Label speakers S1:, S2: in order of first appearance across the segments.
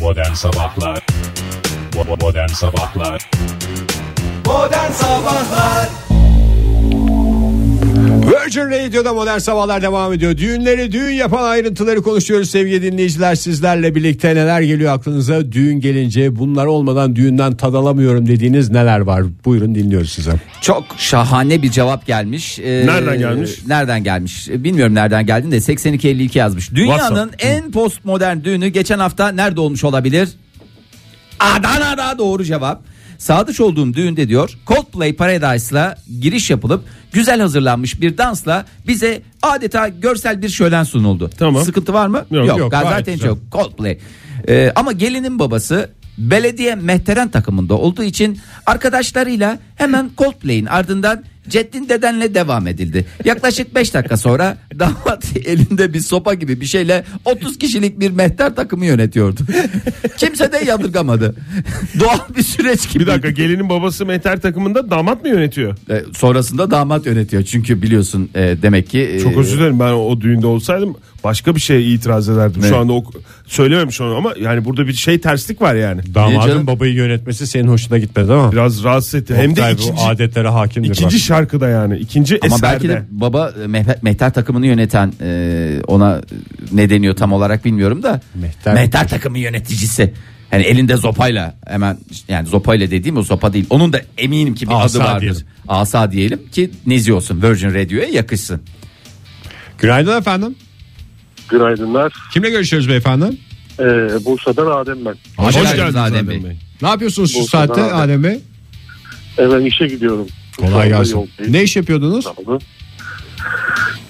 S1: Modern Sabahlar Bo- Modern Sabahlar
S2: Modern Sabahlar Virgin Radio'da modern sabahlar devam ediyor. Düğünleri düğün yapan ayrıntıları konuşuyoruz sevgili dinleyiciler. Sizlerle birlikte neler geliyor aklınıza? Düğün gelince bunlar olmadan düğünden tad alamıyorum dediğiniz neler var? Buyurun dinliyoruz size.
S3: Çok şahane bir cevap gelmiş. Ee,
S4: Nereden gelmiş?
S3: Nereden gelmiş? Ee, Bilmiyorum nereden geldiğini de 8252 yazmış. Dünyanın en postmodern düğünü geçen hafta nerede olmuş olabilir? Adana'da doğru cevap. Sadıç olduğum düğünde diyor Coldplay Paradise'la giriş yapılıp güzel hazırlanmış bir dansla bize adeta görsel bir şölen sunuldu.
S4: Tamam.
S3: Sıkıntı var mı?
S4: Yok,
S3: yok
S4: yok, gayet
S3: zaten
S4: güzel.
S3: çok Coldplay. Ee, ama gelinin babası belediye mehteren takımında olduğu için arkadaşlarıyla hemen Coldplay'in ardından Ceddin dedenle devam edildi. Yaklaşık 5 dakika sonra damat elinde bir sopa gibi bir şeyle 30 kişilik bir mehter takımı yönetiyordu. Kimse de yadırgamadı. Doğal bir süreç gibi.
S4: Bir dakika gelinin babası mehter takımında damat mı yönetiyor?
S3: Ee, sonrasında damat yönetiyor. Çünkü biliyorsun e, demek ki e,
S4: Çok özür dilerim ben o düğünde olsaydım başka bir şeye itiraz ederdim.
S3: Ne?
S4: Şu anda o, söylememiş onu ama yani burada bir şey terslik var yani.
S3: Niye
S2: Damadın
S3: canım?
S2: babayı yönetmesi senin hoşuna gitmedi ama.
S4: Biraz rahatsız etti. Hem de
S2: Oktay bu
S4: ikinci,
S2: adetlere hakimdir.
S4: ikinci
S2: bak.
S4: şarkıda yani. ikinci
S3: Ama
S4: eserde.
S3: belki de baba e, mehter, mehter takımını yöneten e, ona ne deniyor tam olarak bilmiyorum da
S2: Mehter-
S3: mehter, takımı yöneticisi. Hani elinde zopayla hemen yani zopayla dediğim o zopa değil. Onun da eminim ki bir
S2: Asa
S3: adı vardır.
S2: diyelim.
S3: Asa diyelim ki nezi olsun Virgin Radio'ya yakışsın.
S2: Günaydın efendim.
S5: Günaydınlar.
S2: Kimle görüşüyoruz beyefendi?
S5: Ee, Bursa'dan Adem ben.
S3: Hoş,
S4: Hoş
S3: geldiniz
S4: geldiniz
S3: Adem
S4: Adem
S3: Bey.
S4: Bey.
S2: Ne yapıyorsunuz şu
S5: Bursa'dan
S2: saatte
S5: abi.
S2: Adem Bey?
S5: Ee, ben işe gidiyorum. Şu anda
S2: Kolay gelsin.
S5: yoldayım.
S2: Ne iş yapıyordunuz?
S5: Sağ olun.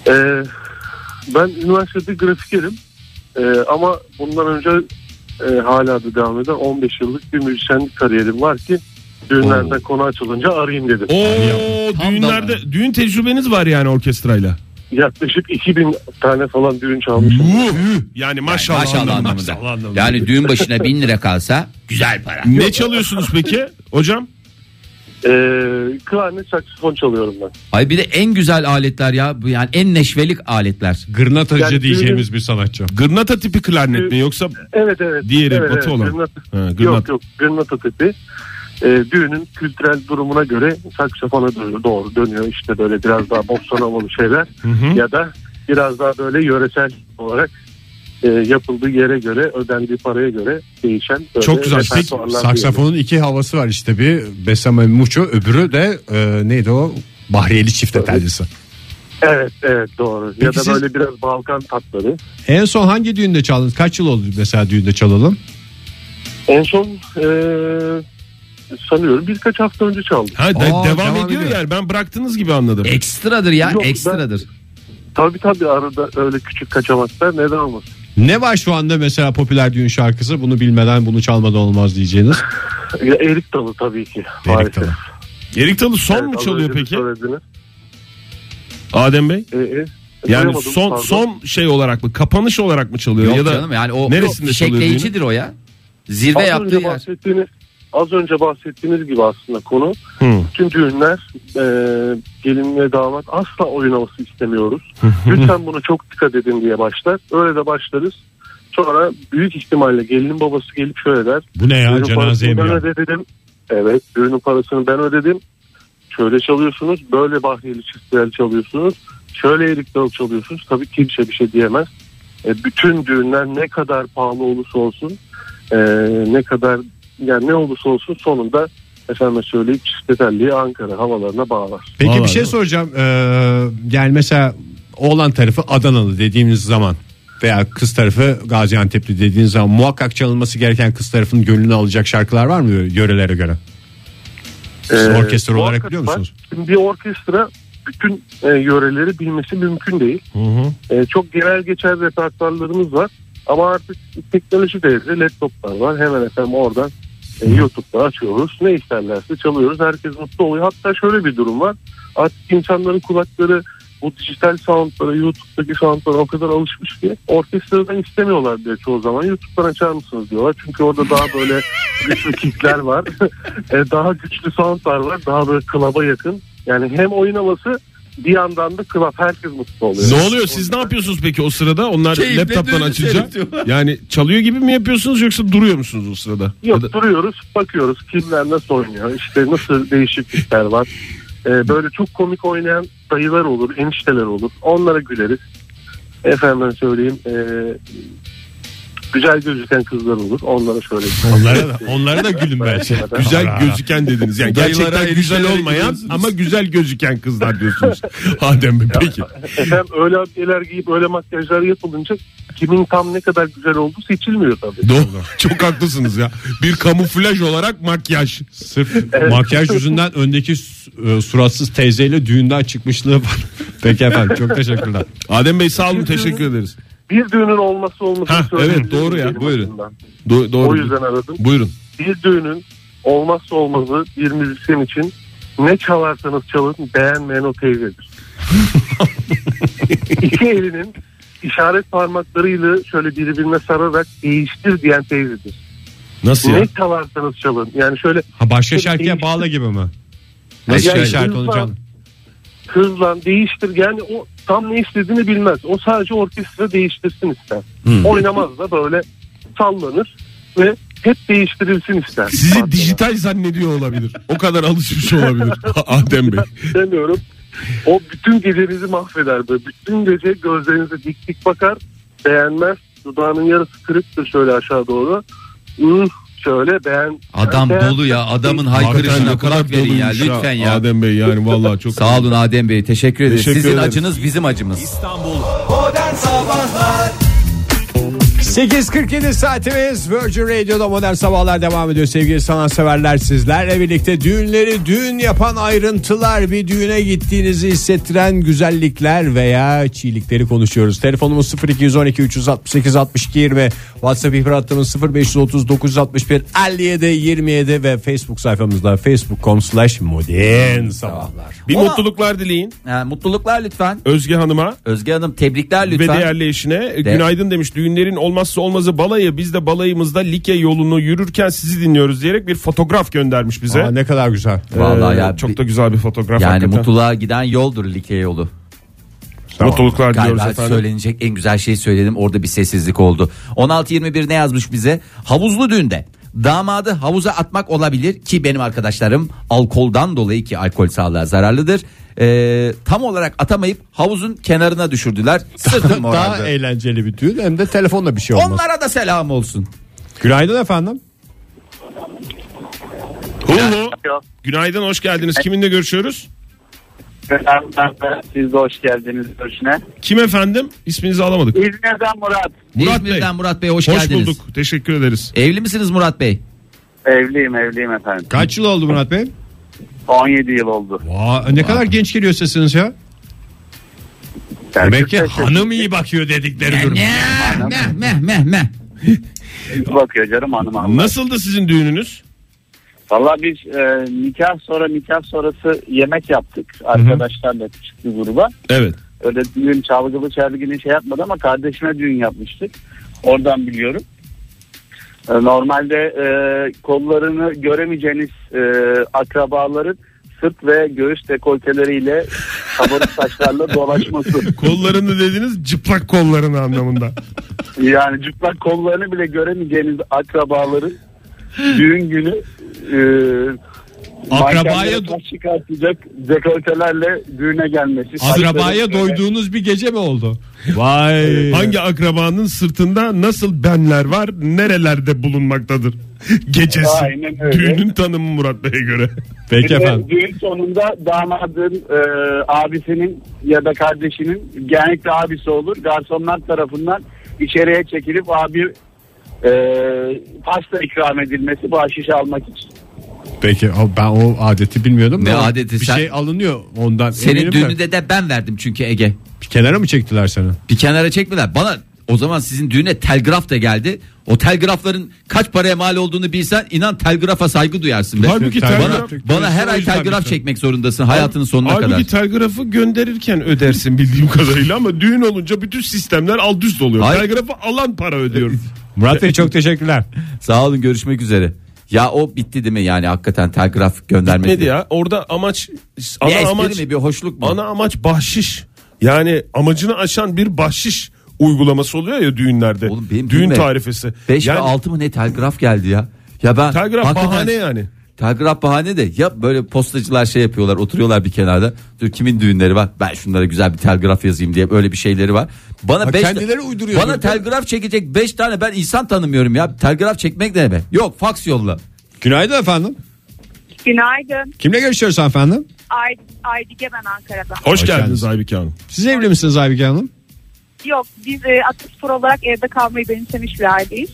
S5: Ee, ben üniversitede grafikerim. Ee, ama bundan önce e, hala da devam eden 15 yıllık bir müzisyenlik kariyerim var ki düğünlerden konu açılınca arayayım dedim.
S4: Oo
S3: Tam
S4: düğünlerde düğün tecrübeniz var yani orkestrayla.
S5: Yaklaşık 2000 tane falan düğün
S2: Hmm.
S5: çalmışım.
S4: Yani maşallah.
S3: Maşallah
S4: anlamında.
S3: anlamında.
S4: Maşallah anlamında.
S3: Yani düğün başına bin lira kalsa güzel para.
S4: ne çalıyorsunuz peki hocam?
S5: Ee, klarnet saksafon çalıyorum ben.
S3: Ay bir de en güzel aletler ya. Bu Yani en neşvelik aletler.
S2: Gırnatacı
S5: Yani düğünün- Ee,
S2: diyeceğimiz bir sanatçı.
S4: Gırnata tipi klarnet mi yoksa
S5: Evet evet.
S4: Diğeri
S5: evet,
S4: batı olan.
S5: Gırnat-
S4: Ha, gırnat.
S5: Yok yok Gırnata tipi. Ee, düğünün kültürel durumuna göre saksafona doğru, doğru dönüyor işte böyle biraz daha bossanavalı şeyler ya da biraz daha böyle yöresel olarak e, yapıldığı yere göre ödendiği paraya göre değişen böyle
S4: Çok güzel. Peki,
S5: repertuarlar diyelim.
S2: Saksafonun iki havası var işte bir Besame Muço öbürü de e, neydi o Bahriyeli çift detaylısı.
S5: Evet evet doğru. ya
S2: Peki
S5: da
S2: siz-
S5: böyle biraz Balkan tatları.
S2: En son hangi düğünde çaldınız? Kaç yıl oldu mesela düğünde çalalım?
S5: En son e, sanıyorum birkaç hafta önce çaldım.
S4: Ha, de-
S2: Aa,
S4: devam,
S2: devam
S4: ediyor,
S2: ediyor.
S4: yani ben bıraktınız gibi anladım.
S3: Ekstradır ya
S5: Yok, ben-
S3: ekstradır.
S5: Tabii tabii arada öyle küçük kaçamaklar neden olmasın.
S2: Ne var şu anda mesela popüler düğün şarkısı? Bunu bilmeden bunu çalmadan olmaz diyeceğiniz.
S5: Ya, Erik Dalı tabii ki.
S2: Erik
S5: maalesef.
S2: Dalı.
S4: Erik Dalı son
S5: Evet,
S4: mu
S5: az
S4: çalıyor
S5: önce de
S4: peki?
S5: söylediniz.
S4: Adem Bey?
S5: Ee, e,
S4: Yani
S5: duyamadım,
S4: son
S5: pardon.
S4: son şey olarak mı? Kapanış olarak mı çalıyor
S3: Yok
S4: ya da
S3: canım yani o
S4: neresinde çalıyor
S3: şekleyicidir o ya. Zirve
S5: az
S3: yaptığı
S5: önce
S3: yer.
S5: bahsettiğiniz az önce bahsettiğiniz gibi aslında konu
S4: Hı.
S5: tüm düğünler e, gelin ve damat asla oynaması istemiyoruz. Lütfen buna çok dikkat edin diye başlar. Öyle de başlarız. Sonra büyük ihtimalle gelinin babası gelip şöyle der.
S2: Bu ne ya
S5: "Düğünün
S2: cenazeye
S5: parasını
S2: mi
S5: ben
S2: ya?
S5: ödedim. Evet düğünün parasını ben ödedim. Şöyle çalıyorsunuz. Böyle bahriyeli çiftler çalıyorsunuz. Şöyle erik dalı çalıyorsunuz. Tabii kimse bir şey diyemez. E, bütün düğünler ne kadar pahalı olursa olsun e, ne kadar yani ne olursa olsun sonunda efendim söyleyip çiftetelliği Ankara havalarına bağlar.
S2: Peki bir
S4: Vallahi
S2: şey
S4: değil mi?
S2: soracağım. Ee, yani mesela oğlan tarafı Adanalı dediğimiz zaman veya kız tarafı Gaziantep'li dediğiniz zaman muhakkak çalınması gereken kız tarafının gönlünü alacak şarkılar var mı yörelere göre? Siz
S5: E,
S2: orkestra olarak
S5: muhakkak
S2: biliyor
S5: var.
S2: musunuz?
S5: Şimdi bir orkestra bütün e, yöreleri bilmesi mümkün değil. E, çok genel geçer repertuarlarımız var. Ama artık teknoloji devri laptoplar var. Hemen efendim oradan e, YouTube'da açıyoruz. Ne isterlerse çalıyoruz. Herkes mutlu oluyor. Hatta şöyle bir durum var. Artık insanların kulakları bu dijital soundlara, YouTube'daki soundlara o kadar alışmış ki orkestradan istemiyorlar diye çoğu zaman. YouTube'dan açar mısınız diyorlar. Çünkü orada daha böyle güçlü kickler var. E, daha güçlü soundlar var. Daha böyle klaba yakın. Yani hem oynaması bir yandan da club herkes mutlu oluyor.
S4: Ne oluyor siz ne yapıyorsunuz peki o sırada? Onlar
S3: Keyifle
S4: laptoptan
S3: düğünü
S4: açılacak.
S3: seyrediyorlar.
S4: Yani çalıyor gibi mi yapıyorsunuz yoksa duruyor musunuz o sırada?
S5: Yok
S4: Ya da-
S5: duruyoruz bakıyoruz kimler nasıl oynuyor işte nasıl değişiklikler var. Ee, böyle çok komik oynayan dayılar olur enişteler olur onlara güleriz. Efendim söyleyeyim e, güzel gözüken kızlar olur onlara şöyle.
S2: Onlara da, onlara da gülün belki.
S4: şey. Güzel gözüken dediniz. Yani
S2: Dayılara,
S4: gerçekten güzel
S2: eniştelere
S4: olmayan
S2: gidiyorsunuz.
S4: ama güzel gözüken kızlar diyorsunuz. Adem Bey peki.
S5: Efendim öyle abiyeler giyip öyle makyajlar yapılınca kimin tam ne kadar güzel olduğu seçilmiyor tabii.
S4: Doğru. Çok haklısınız ya. Bir kamuflaj olarak makyaj.
S2: Sırf makyaj yüzünden öndeki su- e, suratsız teyzeyle düğünden çıkmışlığı var. Peki efendim çok teşekkürler.
S4: Adem Bey sağ olun teşekkür ederiz.
S5: Bir düğünün olması olması
S4: Ha, evet, doğru ya,
S5: benim
S4: buyurun.
S5: açımdan.
S4: Do- doğru.
S5: O yüzden aradım.
S4: Buyurun.
S5: bir düğünün olmazsa olmazı bir müzisyen için ne çalarsanız çalın beğenmeyen o teyzedir. İki elinin işaret parmaklarıyla şöyle birbirine sararak değiştir diyen teyzedir.
S4: Nasıl ya?
S5: Ne çalarsanız çalın. Yani şöyle
S2: Ha başka şarkıya bağla gibi mi? Nasıl
S5: Ya
S2: bir
S5: işte
S2: işaret
S5: insan-
S2: olacağını?
S5: hızlan değiştir yani o tam ne istediğini bilmez. O sadece orkestra değiştirsin ister. Oynamaz da böyle sallanır ve hep değiştirilsin ister.
S4: Sizi dijital zannediyor olabilir. O kadar alışmış olabilir Adem Bey.
S5: demiyorum. O bütün gecenizi mahveder böyle. Bütün gece gözlerinize dik dik bakar. Beğenmez. Dudağının yarısı kırıktır şöyle aşağı doğru. Hmm, şöyle beğen.
S3: Adam
S5: beğen-
S3: dolu ya adamın
S4: Hakikaten
S3: haykırışına
S4: ne kadar
S3: kulak verin ya
S4: doluymuş
S3: lütfen ya.
S4: Adem Bey yani vallahi çok
S3: Sağ olun Adem Bey teşekkür ederiz.
S4: Teşekkür
S3: Sizin
S4: ederiz.
S3: acınız bizim acımız.
S6: İstanbul
S2: 8.47 saatimiz Virgin Radio'da modern sabahlar devam ediyor sevgili sanatseverler sizlerle birlikte düğünleri düğün yapan ayrıntılar bir düğüne gittiğinizi hissettiren güzellikler veya çiğlikleri konuşuyoruz. Telefonumuz 0212 368 62 20 WhatsApp ihbar hattımız 0530 961 57 27 ve Facebook sayfamızda facebook.com slash modern sabahlar.
S4: Bir
S3: Ama-
S4: mutluluklar dileyin
S3: Ha, mutluluklar lütfen.
S4: Özge Hanım'a.
S3: Özge Hanım tebrikler
S4: Ve
S3: lütfen.
S4: değerli eşine "E, günaydın demiş düğünlerin olmazsa olmazı balayı biz de balayımızda like yolunu yürürken sizi dinliyoruz diyerek bir fotoğraf göndermiş bize. Ee,
S2: Aa, ne kadar güzel.
S3: Vallahi ya,
S4: çok
S3: bi-
S4: da güzel bir fotoğraf
S3: yani
S4: hakikaten.
S3: mutluluğa giden yoldur like yolu.
S4: mutluluklar diliyoruz
S3: Galiba
S4: efendim.
S3: söylenecek en güzel şeyi söyledim. Orada bir sessizlik oldu. 16.21 ne yazmış bize? Havuzlu düğünde damadı havuza atmak olabilir ki benim arkadaşlarım alkoldan dolayı ki alkol sağlığa zararlıdır. Ee, tam olarak atamayıp havuzun kenarına düşürdüler. Sırtım
S2: Daha e-
S3: morardı.
S2: eğlenceli bir düğün hem de telefonla bir şey olmaz.
S3: Onlara da selam olsun.
S2: Günaydın efendim.
S4: Hulhu. Günaydın hoş geldiniz. Kiminle görüşüyoruz?
S7: Merhaba, Siz de hoş geldiniz görüşüne.
S4: Kim efendim? İsminizi alamadık.
S7: İzmir'den Murat.
S4: Murat
S3: İzmir'den
S4: Bey.
S3: Murat Bey hoş,
S4: Hoş
S3: geldiniz.
S4: bulduk. Teşekkür ederiz.
S3: Evli misiniz Murat Bey?
S7: Evliyim evliyim efendim.
S2: Kaç yıl oldu Murat Bey?
S7: 17 yıl oldu.
S2: Aa, ne kadar genç geliyor sesiniz ya. Demek ki hanım iyi bakıyor dedikleri durum.
S3: Meh meh meh meh meh.
S7: Bakıyor canım hanım hanım.
S4: Nasıldı sizin düğününüz?
S7: Valla biz e, nikah sonra nikah sonrası yemek yaptık. Arkadaşlarla küçük bir gruba.
S4: Evet.
S7: Öyle düğün çalgılı çelgili şey yapmadı ama kardeşime düğün yapmıştık. Oradan biliyorum. E, Normalde e, kollarını göremeyeceğiniz e, akrabaların sırt ve göğüs dekolteleriyle kabarık saçlarla dolaşması.
S4: Kollarını dediniz çıplak kollarını anlamında.
S7: Yani cüplak kollarını bile göremeyeceğiniz akrabaların düğün günü e,
S2: Akrabaya-
S7: mankenlere taş çıkartacak dekoltelerle düğüne gelmesi.
S2: Akrabaya
S7: Saçları-
S2: doyduğunuz bir gece mi oldu? Vay.
S4: Hangi akrabanın sırtında nasıl benler var nerelerde bulunmaktadır? Gecesi.
S7: Aynen öyle.
S4: Düğünün tanımı Murat Bey'e göre.
S7: Bir
S2: Peki
S7: de
S2: efendim.
S7: Düğün sonunda damadın e, abisinin ya da kardeşinin genellikle abisi olur. Garsonlar tarafından içeriye çekilip abi e, pasta ikram edilmesi bahşiş almak için.
S2: Peki o- ben o adeti bilmiyordum.
S3: Ne
S2: da
S3: adeti?
S2: Bir
S3: Sen-
S2: şey alınıyor ondan.
S3: Senin
S2: eminim
S3: düğünü de,
S2: de.
S3: de ben verdim çünkü Ege.
S2: Bir kenara mı çektiler seni?
S3: Bir kenara çekmediler. Bana o zaman sizin düğüne telgraf da geldi. O telgrafların kaç paraya mal olduğunu bilsen inan telgrafa saygı duyarsın. Be.
S4: Halbuki
S3: bana,
S4: telgraf-
S3: bana her ay telgraf çekmek zorundasın hayatının sonuna
S4: Halbuki
S3: kadar.
S4: telgrafı gönderirken ödersin bildiğim kadarıyla ama düğün olunca bütün sistemler alt üst oluyor.
S3: Hayır.
S4: Telgrafı alan para ödüyor.
S2: Murat Bey çok teşekkürler.
S3: Sağ olun görüşmek üzere. Ya o bitti değil mi yani hakikaten telgraf göndermesi.
S4: Bitmedi ya. Orada amaç
S3: Bir
S4: ana
S3: espri
S4: amaç
S3: mi bir hoşluk mu?
S4: ana amaç bahşiş. Yani amacını aşan bir bahşiş uygulaması oluyor ya düğünlerde.
S3: Oğlum benim
S4: Düğün
S3: bilmem.
S4: tarifesi.
S3: 5
S4: yani
S3: ve 6 mı ne telgraf geldi ya. Ya ben
S4: telgraf
S3: hakikaten-
S4: bahane yani.
S3: Telgraf bahane de ya böyle postacılar şey yapıyorlar oturuyorlar bir kenarda. Dur kimin düğünleri var? Ben şunlara güzel bir telgraf yazayım diye böyle bir şeyleri var. Bana
S2: Ha,
S3: beş
S2: kendileri uyduruyor.
S3: Bana telgraf çekecek 5 tane ben insan tanımıyorum ya. Telgraf çekmek ne demek? Yok faks yolla.
S2: Günaydın efendim.
S8: Günaydın.
S2: Kimle görüşüyoruz efendim?
S8: Ay, Aydike ben Ankara'dan.
S4: Hoş,
S2: Hoş
S4: geldiniz
S2: geldiniz.
S4: Aybike Hanım.
S2: Siz evli misiniz Aybüke Hanım?
S8: Yok biz e, Ataspor olarak evde kalmayı benimsemiş bir aileyiz.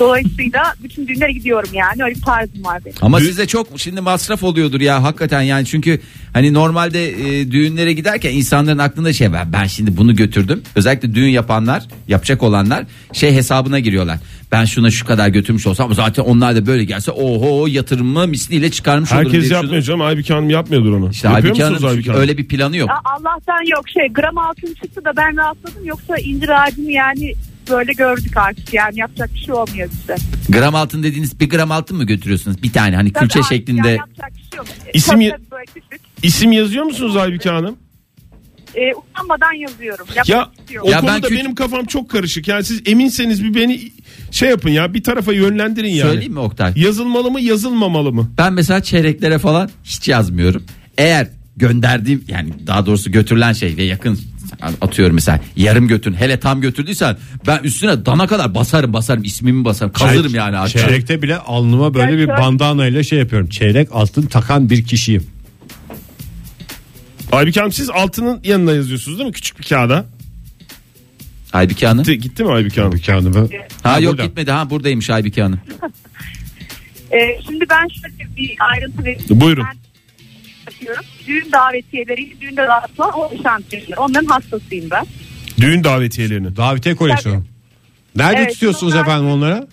S8: Dolayısıyla bütün düğünlere gidiyorum yani. Öyle bir tarzım var benim.
S3: Ama
S4: Dü-
S3: size çok şimdi masraf oluyordur ya hakikaten yani çünkü hani normalde e, düğünlere giderken insanların aklında şey ben, ben şimdi bunu götürdüm. Özellikle düğün yapanlar yapacak olanlar şey hesabına giriyorlar. Ben şuna şu kadar götürmüş olsam zaten onlar da böyle gelse oho yatırımı misliyle çıkarmış olurum diye
S4: Herkes
S3: düşünüyorum.
S4: yapmıyor canım. Aybike Hanım yapmıyordur onu.
S3: İşte
S4: Yapıyor
S3: Aybüke
S4: musunuz
S3: Hanım
S4: Aybike Hanım?
S3: öyle bir planı yok.
S8: Ya Allah'tan yok şey gram altın çıktı da ben rahatladım. Yoksa incir ağacını yani böyle gördük artık yani yapacak bir şey olmuyor bize.
S3: Gram altın dediğiniz bir gram altın mı götürüyorsunuz? Bir tane hani
S8: Tabii
S3: külçe
S8: artık
S3: şeklinde.
S8: yani yapacak bir şey yok.
S4: İsim
S8: Tabii
S4: ye-
S8: tabii böyle küçük.
S4: İsim yazıyor musunuz Aybike Hanım?
S8: E, utanmadan yazıyorum. Yapacak
S4: Ya
S8: bir şey yok.
S4: o
S3: Ya ben
S4: konuda
S3: küçük-
S4: benim kafam çok karışık. Yani siz eminseniz bir beni şey yapın ya bir tarafa yönlendirin yani.
S3: Söyleyeyim mi Oktay?
S4: Yazılmalı mı yazılmamalı mı?
S3: Ben mesela çeyreklere falan hiç yazmıyorum. Eğer gönderdiğim yani daha doğrusu götürülen şey ve yakın atıyorum mesela yarım götürün hele tam götürdüysen ben üstüne dana kadar basarım basarım ismimi basarım kazırım yani artık.
S2: Çeyrekte bile alnıma böyle bir
S8: Gerçekten.
S2: bandana ile şey yapıyorum. Çeyrek altın takan bir kişiyim.
S4: Aybike Hanım siz altının yanına yazıyorsunuz değil mi? Küçük bir kağıda.
S3: Aybike Hanım.
S4: Gitti, gitti mi Aybike Hanım?
S2: Bir kağıdımı.
S3: Ha yok
S2: burada.
S3: gitmedi ha buradaymış Aybike Hanım.
S8: E, şimdi ben şöyle bir ayrıntı vereyim.
S4: Buyurun.
S8: Ben yapıyorum. Düğün davetiyeleri, düğünde dağıtılan o şantiyonlar. Onların hastasıyım ben.
S4: Düğün davetiyelerini.
S2: Davetiye koleksiyonu. Nerede
S8: Evet,
S2: tutuyorsunuz
S8: bunlar-
S2: efendim onlara?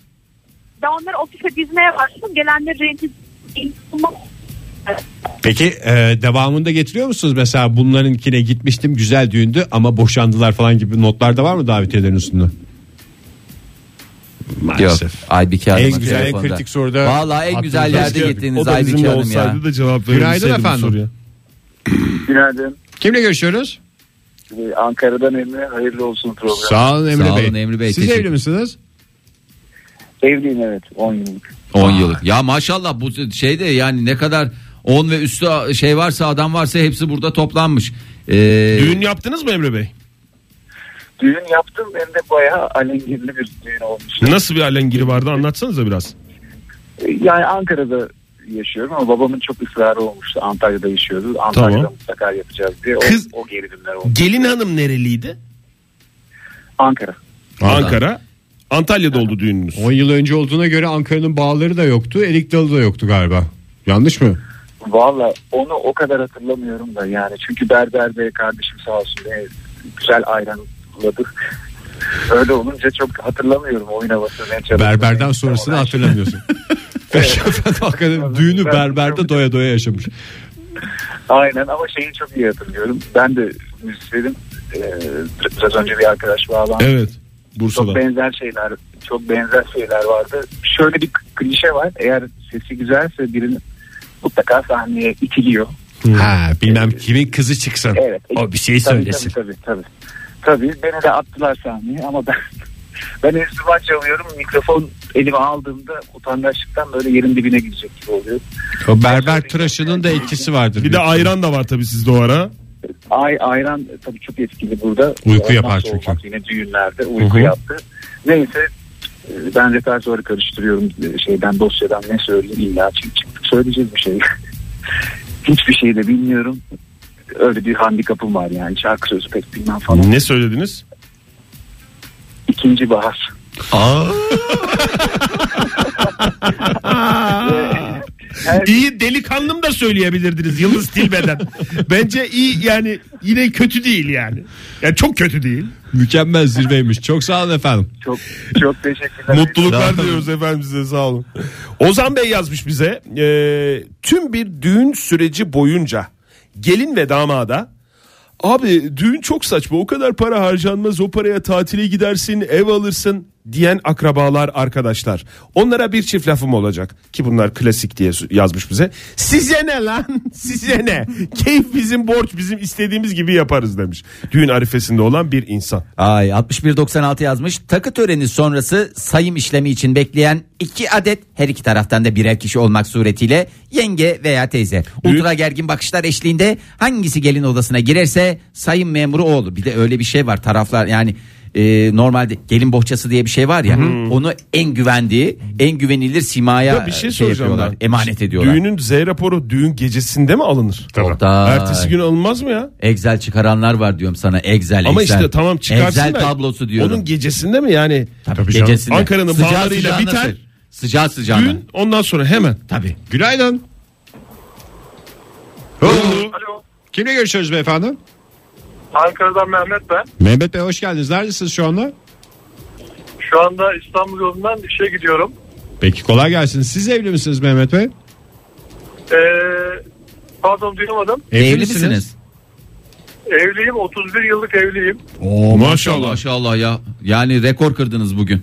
S8: Ben onları ofise dizmeye başladım. Gelenleri renkli
S2: Peki e, devamında getiriyor musunuz mesela bunlarınkine gitmiştim güzel düğündü ama boşandılar falan gibi notlar da var mı davetiyelerin üstünde?
S3: Yok
S2: Maalesef.
S3: Aybike Hanım.
S2: En güzel, en kritik soruda
S3: Valla en güzel
S2: aklınıza
S3: yerde
S2: çıkıyor.
S3: gittiniz Aybike Hanım ya.
S4: da cevap
S2: Günaydın
S4: verebilseydim bu
S2: efendim.
S4: soruya.
S9: Günaydın.
S2: Kimle görüşüyoruz?
S9: Ee, Ankara'dan Emre hayırlı olsun program.
S2: Sağ olun Emre
S3: Sağ
S2: Bey.
S3: olun Emre Bey,
S2: Siz
S3: teşekkür-
S2: evli misiniz?
S9: Evliyim evet 10 yıllık.
S3: 10 yıllık. Ya maşallah bu şeyde yani ne kadar 10 ve üstü şey varsa adam varsa hepsi burada toplanmış. Ee,
S4: Düğün yaptınız mı Emre Bey?
S9: Düğün yaptım hem de bayağı alengirli bir düğün olmuş.
S4: Nasıl bir alengiri vardı anlatsanıza biraz.
S9: Ee, Yani Ankara'da yaşıyorum ama babamın çok ısrarı olmuştu. Antalya'da yaşıyoruz. Antalya'da
S4: Tamam.
S9: mutlaka yapacağız diye. O,
S4: Kız-
S9: o gerilimler oldu.
S4: Gelin hanım nereliydi?
S9: Ankara.
S4: Ankara. Antalya'da oldu düğününüz.
S2: 10 yıl önce olduğuna göre Ankara'nın bağları da yoktu. Erik Dalı da yoktu galiba. Yanlış mı?
S9: Valla onu o kadar hatırlamıyorum da yani. Çünkü berber bey kardeşim sağ olsun beni güzel ayranladı. Öyle olunca çok hatırlamıyorum oyun havasını. ne çalındığını,
S2: Berberden
S9: ne
S2: sonrasını
S9: olan.
S2: hatırlamıyorsun. Peki efendim hakikaten düğünü berberde doya doya yaşamış.
S9: Aynen ama şeyi çok iyi hatırlıyorum. Ben de müzisyenim. Ee, biraz önce bir arkadaş bağlandı.
S4: Evet.
S9: Çok
S4: Bursa'da.
S9: benzer şeyler, çok benzer şeyler vardı. Şöyle bir klişe var. Eğer sesi güzelse birinin mutlaka sahneye itiliyor.
S2: Ha bilmem kimin kızı çıksın.
S9: Evet.
S2: O bir şey
S9: Tabii,
S2: söylesin.
S9: Tabii tabii tabii. Tabii beni de attılar sahneye ama ben ben enstrüman çalıyorum. Mikrofon elime aldığımda utangaçlıktan böyle yerin dibine gidecek gibi oluyor.
S2: O berber tıraşının da etkisi vardır.
S4: Bir de ayran da var tabii sizde o ara.
S9: Ay ayran e, tabii çok etkili burada.
S2: Uyku
S9: Olmazsa
S2: yapar çünkü.
S9: olmaz. Yine düğünlerde uyku
S2: Hı hı.
S9: yaptı. Neyse e, ben repertuarı karıştırıyorum E, şeyden dosyadan ne söyleyeyim illa çık çıktık söyleyeceğiz bir şey. Hiçbir şey de bilmiyorum. Öyle bir handikapım var yani şarkı sözü pek bilmem falan.
S4: Ne söylediniz?
S9: İkinci bahar.
S4: İyi delikanlım da söyleyebilirdiniz Yıldız Tilbe'den. Bence iyi yani yine kötü değil yani. Yani çok kötü değil.
S2: Mükemmel zirveymiş. Çok sağ olun efendim.
S9: Çok çok teşekkürler.
S4: Mutluluklar diliyoruz efendim size sağ olun. Ozan Bey yazmış bize. e, tüm bir düğün süreci boyunca gelin ve damada Abi düğün çok saçma o kadar para harcanmaz o paraya tatile gidersin ev alırsın diyen akrabalar arkadaşlar. Onlara bir çift lafım olacak ki bunlar klasik diye yazmış bize. Size ne lan? Size ne? Keyif bizim borç bizim istediğimiz gibi yaparız demiş. Düğün arifesinde olan bir insan.
S3: Ay 6196 yazmış. Takı töreni sonrası sayım işlemi için bekleyen iki adet her iki taraftan da birer kişi olmak suretiyle yenge veya teyze. Ultra gergin bakışlar eşliğinde hangisi gelin odasına girerse sayım memuru o olur. Bir de öyle bir şey var taraflar yani e, normalde gelin bohçası diye bir şey var ya onu en güvendiği en güvenilir simaya e,
S4: Ya bir şey, soracağım
S3: yapıyorlar,
S4: ben.
S3: emanet ediyorlar.
S4: Düğünün Z raporu düğün gecesinde mi alınır?
S3: Oktay.
S4: Ertesi gün alınmaz mı ya?
S3: Excel çıkaranlar var diyorum sana Excel
S4: Ama
S3: Excel.
S4: işte tamam çıkarsın
S3: Excel
S4: da
S3: tablosu diyorum.
S4: Onun gecesinde mi yani?
S3: Gecesinde.
S4: Ankara'nın
S3: Sıcağı
S4: bağlarıyla
S3: sıcağına
S4: biter.
S3: sır. Sıcağı sıcağına.
S4: Düğün ondan sonra hemen.
S3: Tabii.
S2: Günaydın. Kimle görüşüyoruz beyefendi?
S10: Ankara'dan Mehmet ben.
S2: Mehmet Bey hoş geldiniz. Neredesiniz şu anda?
S10: Şu anda İstanbul yolundan işe gidiyorum.
S2: Peki kolay gelsin. Siz evli misiniz Mehmet Bey?
S10: Ee, pardon duyamadım.
S3: Evli, misiniz?
S10: Evliyim 31 yıllık evliyim.
S2: Oo,
S3: Maşallah. Maşallah ya. Yani rekor kırdınız bugün.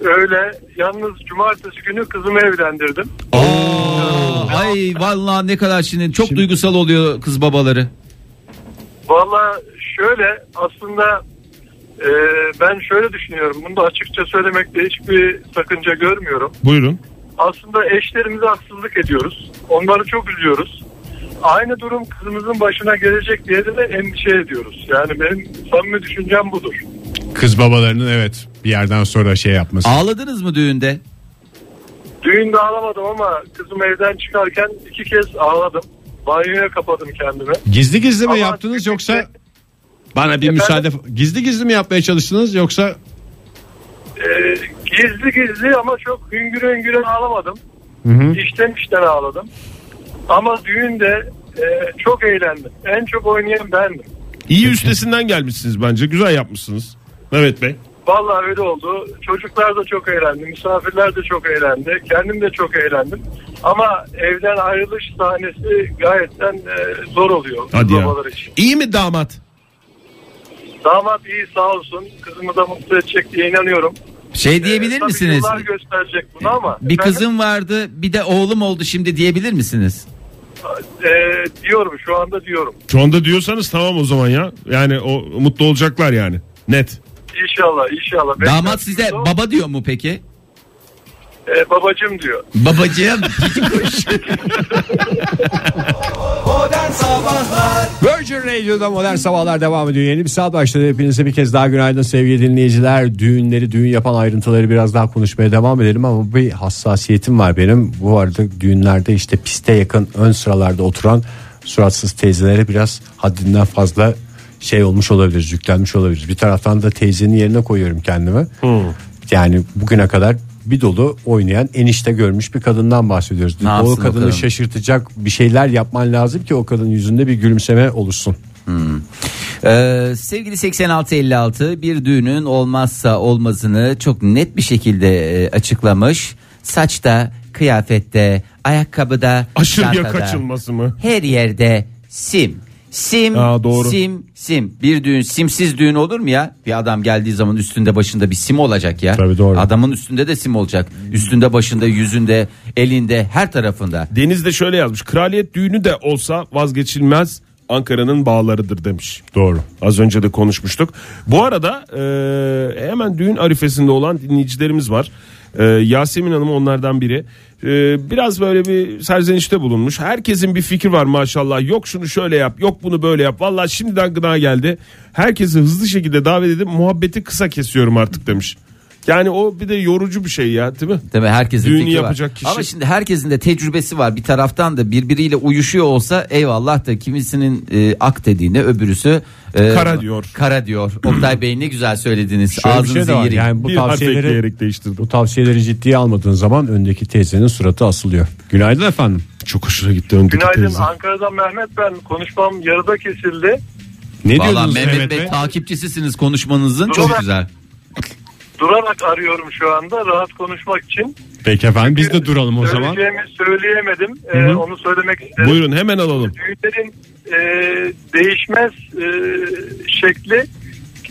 S10: Öyle yalnız cumartesi günü kızımı evlendirdim.
S3: Ay vallahi ne kadar şimdi çok duygusal oluyor kız babaları.
S10: Valla şöyle aslında e, ben şöyle düşünüyorum. Bunu da açıkça söylemekte hiçbir sakınca görmüyorum.
S4: Buyurun.
S10: Aslında eşlerimize haksızlık ediyoruz. Onları çok üzüyoruz. Aynı durum kızımızın başına gelecek diye de endişe ediyoruz. Yani benim samimi düşüncem budur.
S2: Kız babalarının evet bir yerden sonra şey yapması.
S3: Ağladınız mı düğünde?
S10: Düğünde ağlamadım ama kızım evden çıkarken iki kez ağladım. Banyoya kapadım kendimi.
S2: Gizli gizli mi
S10: Ama
S2: yaptınız
S10: çünkü-
S2: yoksa bana bir
S10: Efendim?
S2: müsaade gizli gizli mi yapmaya çalıştınız yoksa
S10: Ee, gizli gizli ama çok hüngür hüngür ağlamadım. İşten işten ağladım. Ama düğünde e, çok eğlendim. En çok oynayan bendim.
S4: İyi üstesinden gelmişsiniz bence. Güzel yapmışsınız. Mehmet Bey.
S10: Vallahi öyle oldu. Çocuklar da çok eğlendi. Misafirler de çok eğlendi. Kendim de çok eğlendim. Ama evden ayrılış sahnesi gayetten e, zor oluyor.
S4: Hadi ya.
S10: babalar için.
S4: İyi mi damat?
S10: Damat iyi sağ olsun. Kızımı da mutlu edecek diye inanıyorum.
S3: Şey diyebilir
S10: Ee, tabii
S3: misiniz?
S10: Yıllar gösterecek bunu ama.
S3: Bir
S10: Efendim?
S3: kızım vardı, bir de oğlum oldu şimdi diyebilir misiniz?
S10: Ee, diyorum şu anda diyorum.
S4: Şu anda diyorsanız tamam o zaman ya. Yani o mutlu olacaklar yani. Net.
S10: İnşallah inşallah. Ben
S3: Damat
S10: de-
S3: size baba diyor mu peki?
S10: Ee, babacım diyor.
S3: Babacığım.
S2: Virgin Radio'da Modern Sabahlar devam ediyor. Yeni bir saat başladı. Hepinize bir kez daha günaydın sevgili dinleyiciler. Düğünleri, düğün yapan ayrıntıları biraz daha konuşmaya devam edelim ama bir hassasiyetim var benim. Bu arada düğünlerde işte piste yakın ön sıralarda oturan suratsız teyzelere biraz haddinden fazla şey olmuş olabiliriz, yüklenmiş olabiliriz. Bir taraftan da teyzenin yerine koyuyorum kendimi.
S3: Hmm.
S2: Yani bugüne kadar bir dolu oynayan enişte görmüş bir kadından bahsediyoruz.
S3: Ne yapsın
S2: o
S3: o kadın?
S2: kadını şaşırtacak bir şeyler yapman lazım ki o kadının yüzünde bir gülümseme oluşsun.
S3: Ee, sevgili 8656 bir düğünün olmazsa olmazını çok net bir şekilde e, açıklamış. Saçta, kıyafette, ayakkabıda,
S4: Aşırıya
S3: çantada,
S4: kaçılması mı?
S3: Her yerde sim. Sim,
S4: Aa, doğru.
S3: sim, sim. Bir düğün simsiz düğün olur mu ya? Bir adam geldiği zaman üstünde başında bir sim olacak ya.
S2: Tabii, doğru.
S3: Adamın üstünde de sim olacak. Üstünde, başında, yüzünde, elinde, her tarafında.
S4: Deniz de şöyle yazmış. Kraliyet düğünü de olsa vazgeçilmez Ankara'nın bağlarıdır demiş.
S2: Doğru.
S4: Az önce de konuşmuştuk. Bu arada e, hemen düğün arifesinde olan dinleyicilerimiz var. E, Yasemin Hanım onlardan biri. E, biraz böyle bir serzenişte bulunmuş. Herkesin bir fikir var maşallah. Yok şunu şöyle yap, yok bunu böyle yap. Valla şimdiden gına geldi. Herkesi hızlı şekilde davet edip muhabbeti kısa kesiyorum artık demiş. Yani o bir de yorucu bir şey ya değil mi?
S3: Tabii herkesin
S4: Düğünü
S3: fikri
S4: yapacak
S3: var.
S4: kişi.
S3: Ama şimdi herkesin de tecrübesi var. Bir taraftan da birbiriyle uyuşuyor olsa eyvallah da kimisinin e, ak dediğine öbürüsü e,
S4: Kara diyor.
S3: Kara diyor. Oktay Bey ne güzel söylediniz.
S2: Şöyle bir
S3: Ağzınızı
S2: şey de var.
S3: yerin.
S2: Yani bu
S4: bir harf
S2: tavsiyeleri
S4: ekleyerek değiştirdim.
S2: bu tavsiyeleri ciddiye almadığın zaman öndeki teyzenin suratı asılıyor. Günaydın efendim.
S4: Çok hoşuna gitti öndeki
S10: Günaydın
S4: teyze.
S10: Ankara'dan Mehmet ben. Konuşmam yarıda kesildi.
S2: Ne
S3: Vallahi
S2: diyordunuz
S3: Mehmet, Bey, takipçisisiniz konuşmanızın. Çok
S10: Doğru.
S3: güzel.
S10: Durarak arıyorum şu anda rahat konuşmak için.
S2: Peki efendim biz de duralım o zaman.
S10: Söyleyeceğimi söyleyemedim. Ee, onu söylemek istedim.
S4: Buyurun hemen alalım.
S10: Düğünlerin e, değişmez e, şekli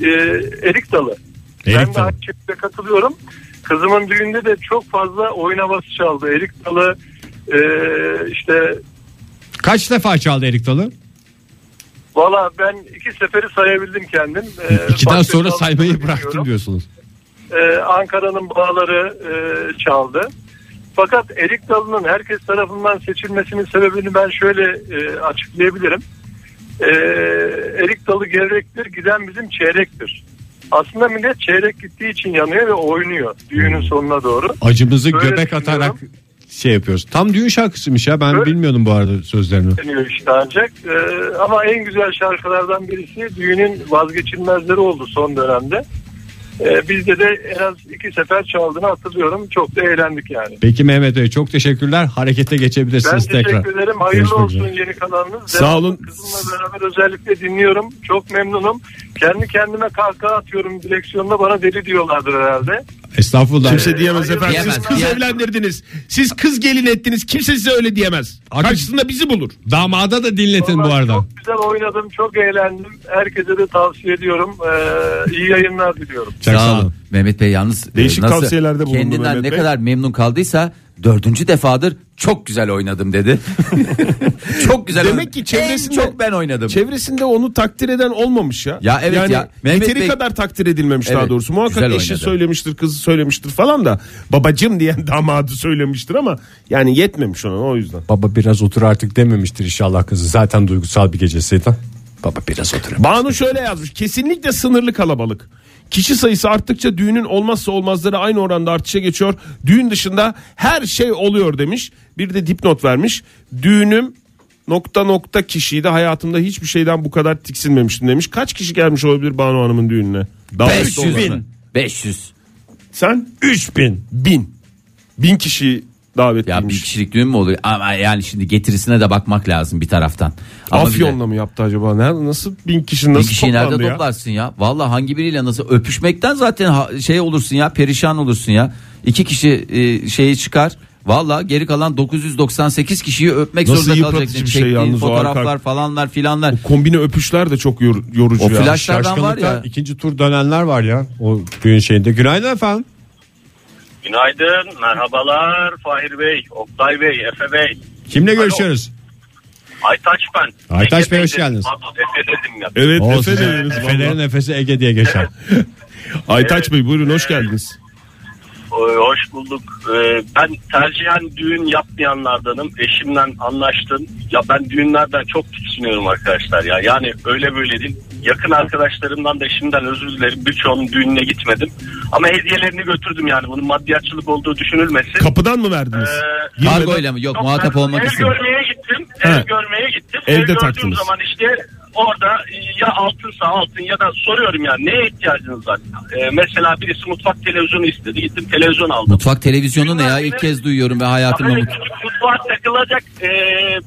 S10: e, erik dalı.
S2: Erik
S10: ben de
S2: Dalı.
S10: Akçep'te katılıyorum. Kızımın düğünde de çok fazla oyun havası çaldı. Erik Dalı e, işte
S2: Kaç defa çaldı Erik Dalı?
S10: valla ben iki seferi sayabildim kendim. E,
S2: İkiden
S10: başka
S2: sonra
S10: çaldığını
S2: saymayı
S10: bilmiyorum.
S2: bıraktım diyorsunuz.
S10: Ee, Ankara'nın bağları e, çaldı. Fakat Erik Dalı'nın herkes tarafından seçilmesinin sebebini ben şöyle e, açıklayabilirim. Ee, Erik Dalı gevrektir, giden bizim çeyrektir. Aslında millet çeyrek gittiği için yanıyor ve oynuyor düğünün sonuna doğru.
S2: Acımızı
S10: Böyle
S2: göbek
S10: düşünüyorum.
S2: atarak şey yapıyoruz. Tam düğün şarkısıymış ya ben
S10: Böyle-
S2: bilmiyordum bu arada sözlerini.
S10: Deniyor işte ancak. Ee, ama en güzel şarkılardan birisi düğünün vazgeçilmezleri oldu son dönemde. Ee, bizde de en az iki sefer çaldığını hatırlıyorum. Çok da eğlendik yani.
S2: Peki Mehmet Bey çok teşekkürler. Harekete
S10: Ben
S2: geçebilirsiniz
S10: teşekkür
S2: tekrar.
S10: ederim. Hayırlı
S2: Görüşmek
S10: olsun
S2: üzere.
S10: yeni kanalınız.
S4: Sağ olun.
S10: Devamlı Kızımla beraber özellikle dinliyorum. Çok memnunum. Kendi kendime kahkaha atıyorum direksiyonda. Bana deli diyorlardır herhalde.
S2: Estağfurullah.
S4: Kimse diyemez efendim. Siz
S3: Diyemez,
S4: kız
S3: diyemez.
S4: evlendirdiniz. Siz kız gelin ettiniz. Kimse size öyle diyemez. Karşısında bizi bulur.
S2: Damada da dinletin bu
S10: Vallahi
S2: arada.
S10: Çok güzel oynadım. Çok eğlendim. Herkese de tavsiye ediyorum. Ee, iyi yayınlar diliyorum.
S2: Çok sağ olun.
S3: Mehmet Bey yalnız
S4: Değişik
S3: e, nasıl
S4: tavsiyelerde bulundu
S3: kendinden
S4: Mehmet
S3: ne
S4: Bey.
S3: kadar memnun kaldıysa dördüncü defadır çok güzel oynadım dedi. çok güzel.
S4: Demek
S3: oynadım.
S4: ki çevresinde-
S3: en çok ben oynadım.
S4: Çevresinde onu takdir eden olmamış ya.
S3: Ya evet
S4: yani
S3: ya. Mehmet
S4: yeteri
S3: Bey-
S4: kadar takdir edilmemiş
S3: Evet,
S4: daha doğrusu. Muhakkak
S3: güzel
S4: eşi
S3: oynadı.
S4: söylemiştir, kızı söylemiştir falan da babacım diyen damadı söylemiştir ama yani yetmemiş ona o yüzden.
S2: Baba biraz otur artık dememiştir inşallah kızı. Zaten duygusal bir gecesiydi. Baba biraz otur.
S4: Banu şöyle yazmış. Kesinlikle sınırlı kalabalık. Kişi sayısı arttıkça düğünün olmazsa olmazları aynı oranda artışa geçiyor. Düğün dışında her şey oluyor demiş. Bir de dipnot vermiş. Düğünüm nokta nokta kişiydi. Hayatımda hiçbir şeyden bu kadar tiksinmemiştim demiş. Kaç kişi gelmiş olabilir Banu Hanım'ın düğününe? Daha
S3: 500
S4: üst olanı.
S3: bin. 500.
S4: Sen? 3000. Bin. Bin kişi
S3: Ya bir
S4: davetliymiş.
S3: kişilik düğün mü oluyor? Ama yani şimdi getirisine de bakmak lazım bir taraftan. Ama bir de-
S4: Afyon'la mı yaptı acaba? Nerede, nasıl bin kişi
S3: Bir
S4: nasıl
S3: kişiyi nerede
S4: toplandı ya?
S3: toplarsın ya? Valla hangi biriyle nasıl öpüşmekten zaten ha- şey olursun ya perişan olursun ya. İki kişi e, şeyi çıkar. Valla geri kalan 998 kişiyi öpmek
S4: Nasıl
S3: zorunda
S4: yıpratıcı
S3: kalacaksın.
S4: bir şey
S3: Çektiğin
S4: yalnız o
S3: fotoğraflar
S4: arka-
S3: falanlar filanlar.
S4: Kombine öpüşler de çok yor- yorucu
S3: O
S4: ya.
S3: flash- Yaşlardan var ya.
S2: ikinci tur dönenler var ya o düğün
S3: şey-
S2: şeyinde. Günaydın efendim.
S11: Günaydın, merhabalar Fahir Bey, Oktay Bey, Efe Bey.
S2: Kimle görüşüyoruz?
S11: Aytaç ben.
S2: Aytaç
S11: Ege
S2: Bey, hoş
S11: dedim.
S2: geldiniz.
S11: Pardon, Efe dedim ya.
S4: Evet
S2: Olsun.
S4: Efe de dediniz
S2: Efelerin
S4: valla.
S2: nefesi Ege diye geçer.
S4: Aytaç Bey buyurun hoş geldiniz.
S11: Ee, Hoş bulduk. Ee, Ben tercihen düğün yapmayanlardanım. Eşimle anlaştım. Ya ben düğünlerden çok tiksiniyorum arkadaşlar ya. Yani öyle böyle değil. Yakın arkadaşlarımdan da eşimden özür dilerim. Birçoğunun düğününe gitmedim. Ama hediyelerini götürdüm yani. Bunun maddiyatçılık olduğu düşünülmesin.
S4: Kapıdan mı verdiniz?
S11: Ee,
S4: Girmeden-
S3: Kargoyla mı? Yok,
S11: Yok,
S3: muhatap
S11: ben
S3: olmak
S11: ev
S3: istedim.
S11: görmeye gittim.
S4: He.
S11: Ev görmeye gittim.
S4: Evde
S11: ev gördüğüm
S4: taktınız.
S11: zaman işte orada ya altınsa altın ya da soruyorum yani neye ihtiyacınız var? Ee, mesela birisi mutfak televizyonu istedi. Gittim televizyon aldım.
S3: Mutfak televizyonu ne ya? İlk kez duyuyorum ve hayatımda.
S11: Böyle
S3: mut-
S11: küçük mutfağa takılacak e,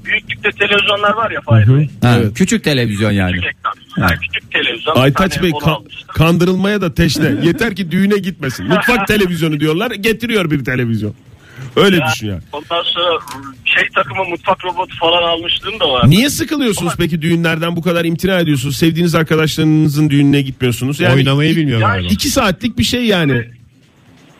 S11: büyüklükte televizyonlar var ya Fahir Bey.
S3: Ha, Küçük televizyon yani.
S11: Küçük ekran. Yani küçük televizyon. Bir
S4: Aytaç
S11: tane
S4: Bey
S11: onu
S4: kan-
S11: almıştım.
S4: kandırılmaya da teşne. Yeter ki düğüne gitmesin. Mutfak televizyonu diyorlar getiriyor bir televizyon. Öyle düşün ya.
S11: Ondan sonra şey takımı mutfak robotu falan almıştım da var.
S4: Niye sıkılıyorsunuz peki düğünlerden bu kadar imtina ediyorsunuz? Sevdiğiniz arkadaşlarınızın düğününe gitmiyorsunuz. Yani
S2: Oynamayı bilmiyor galiba.
S4: iki saatlik bir şey yani.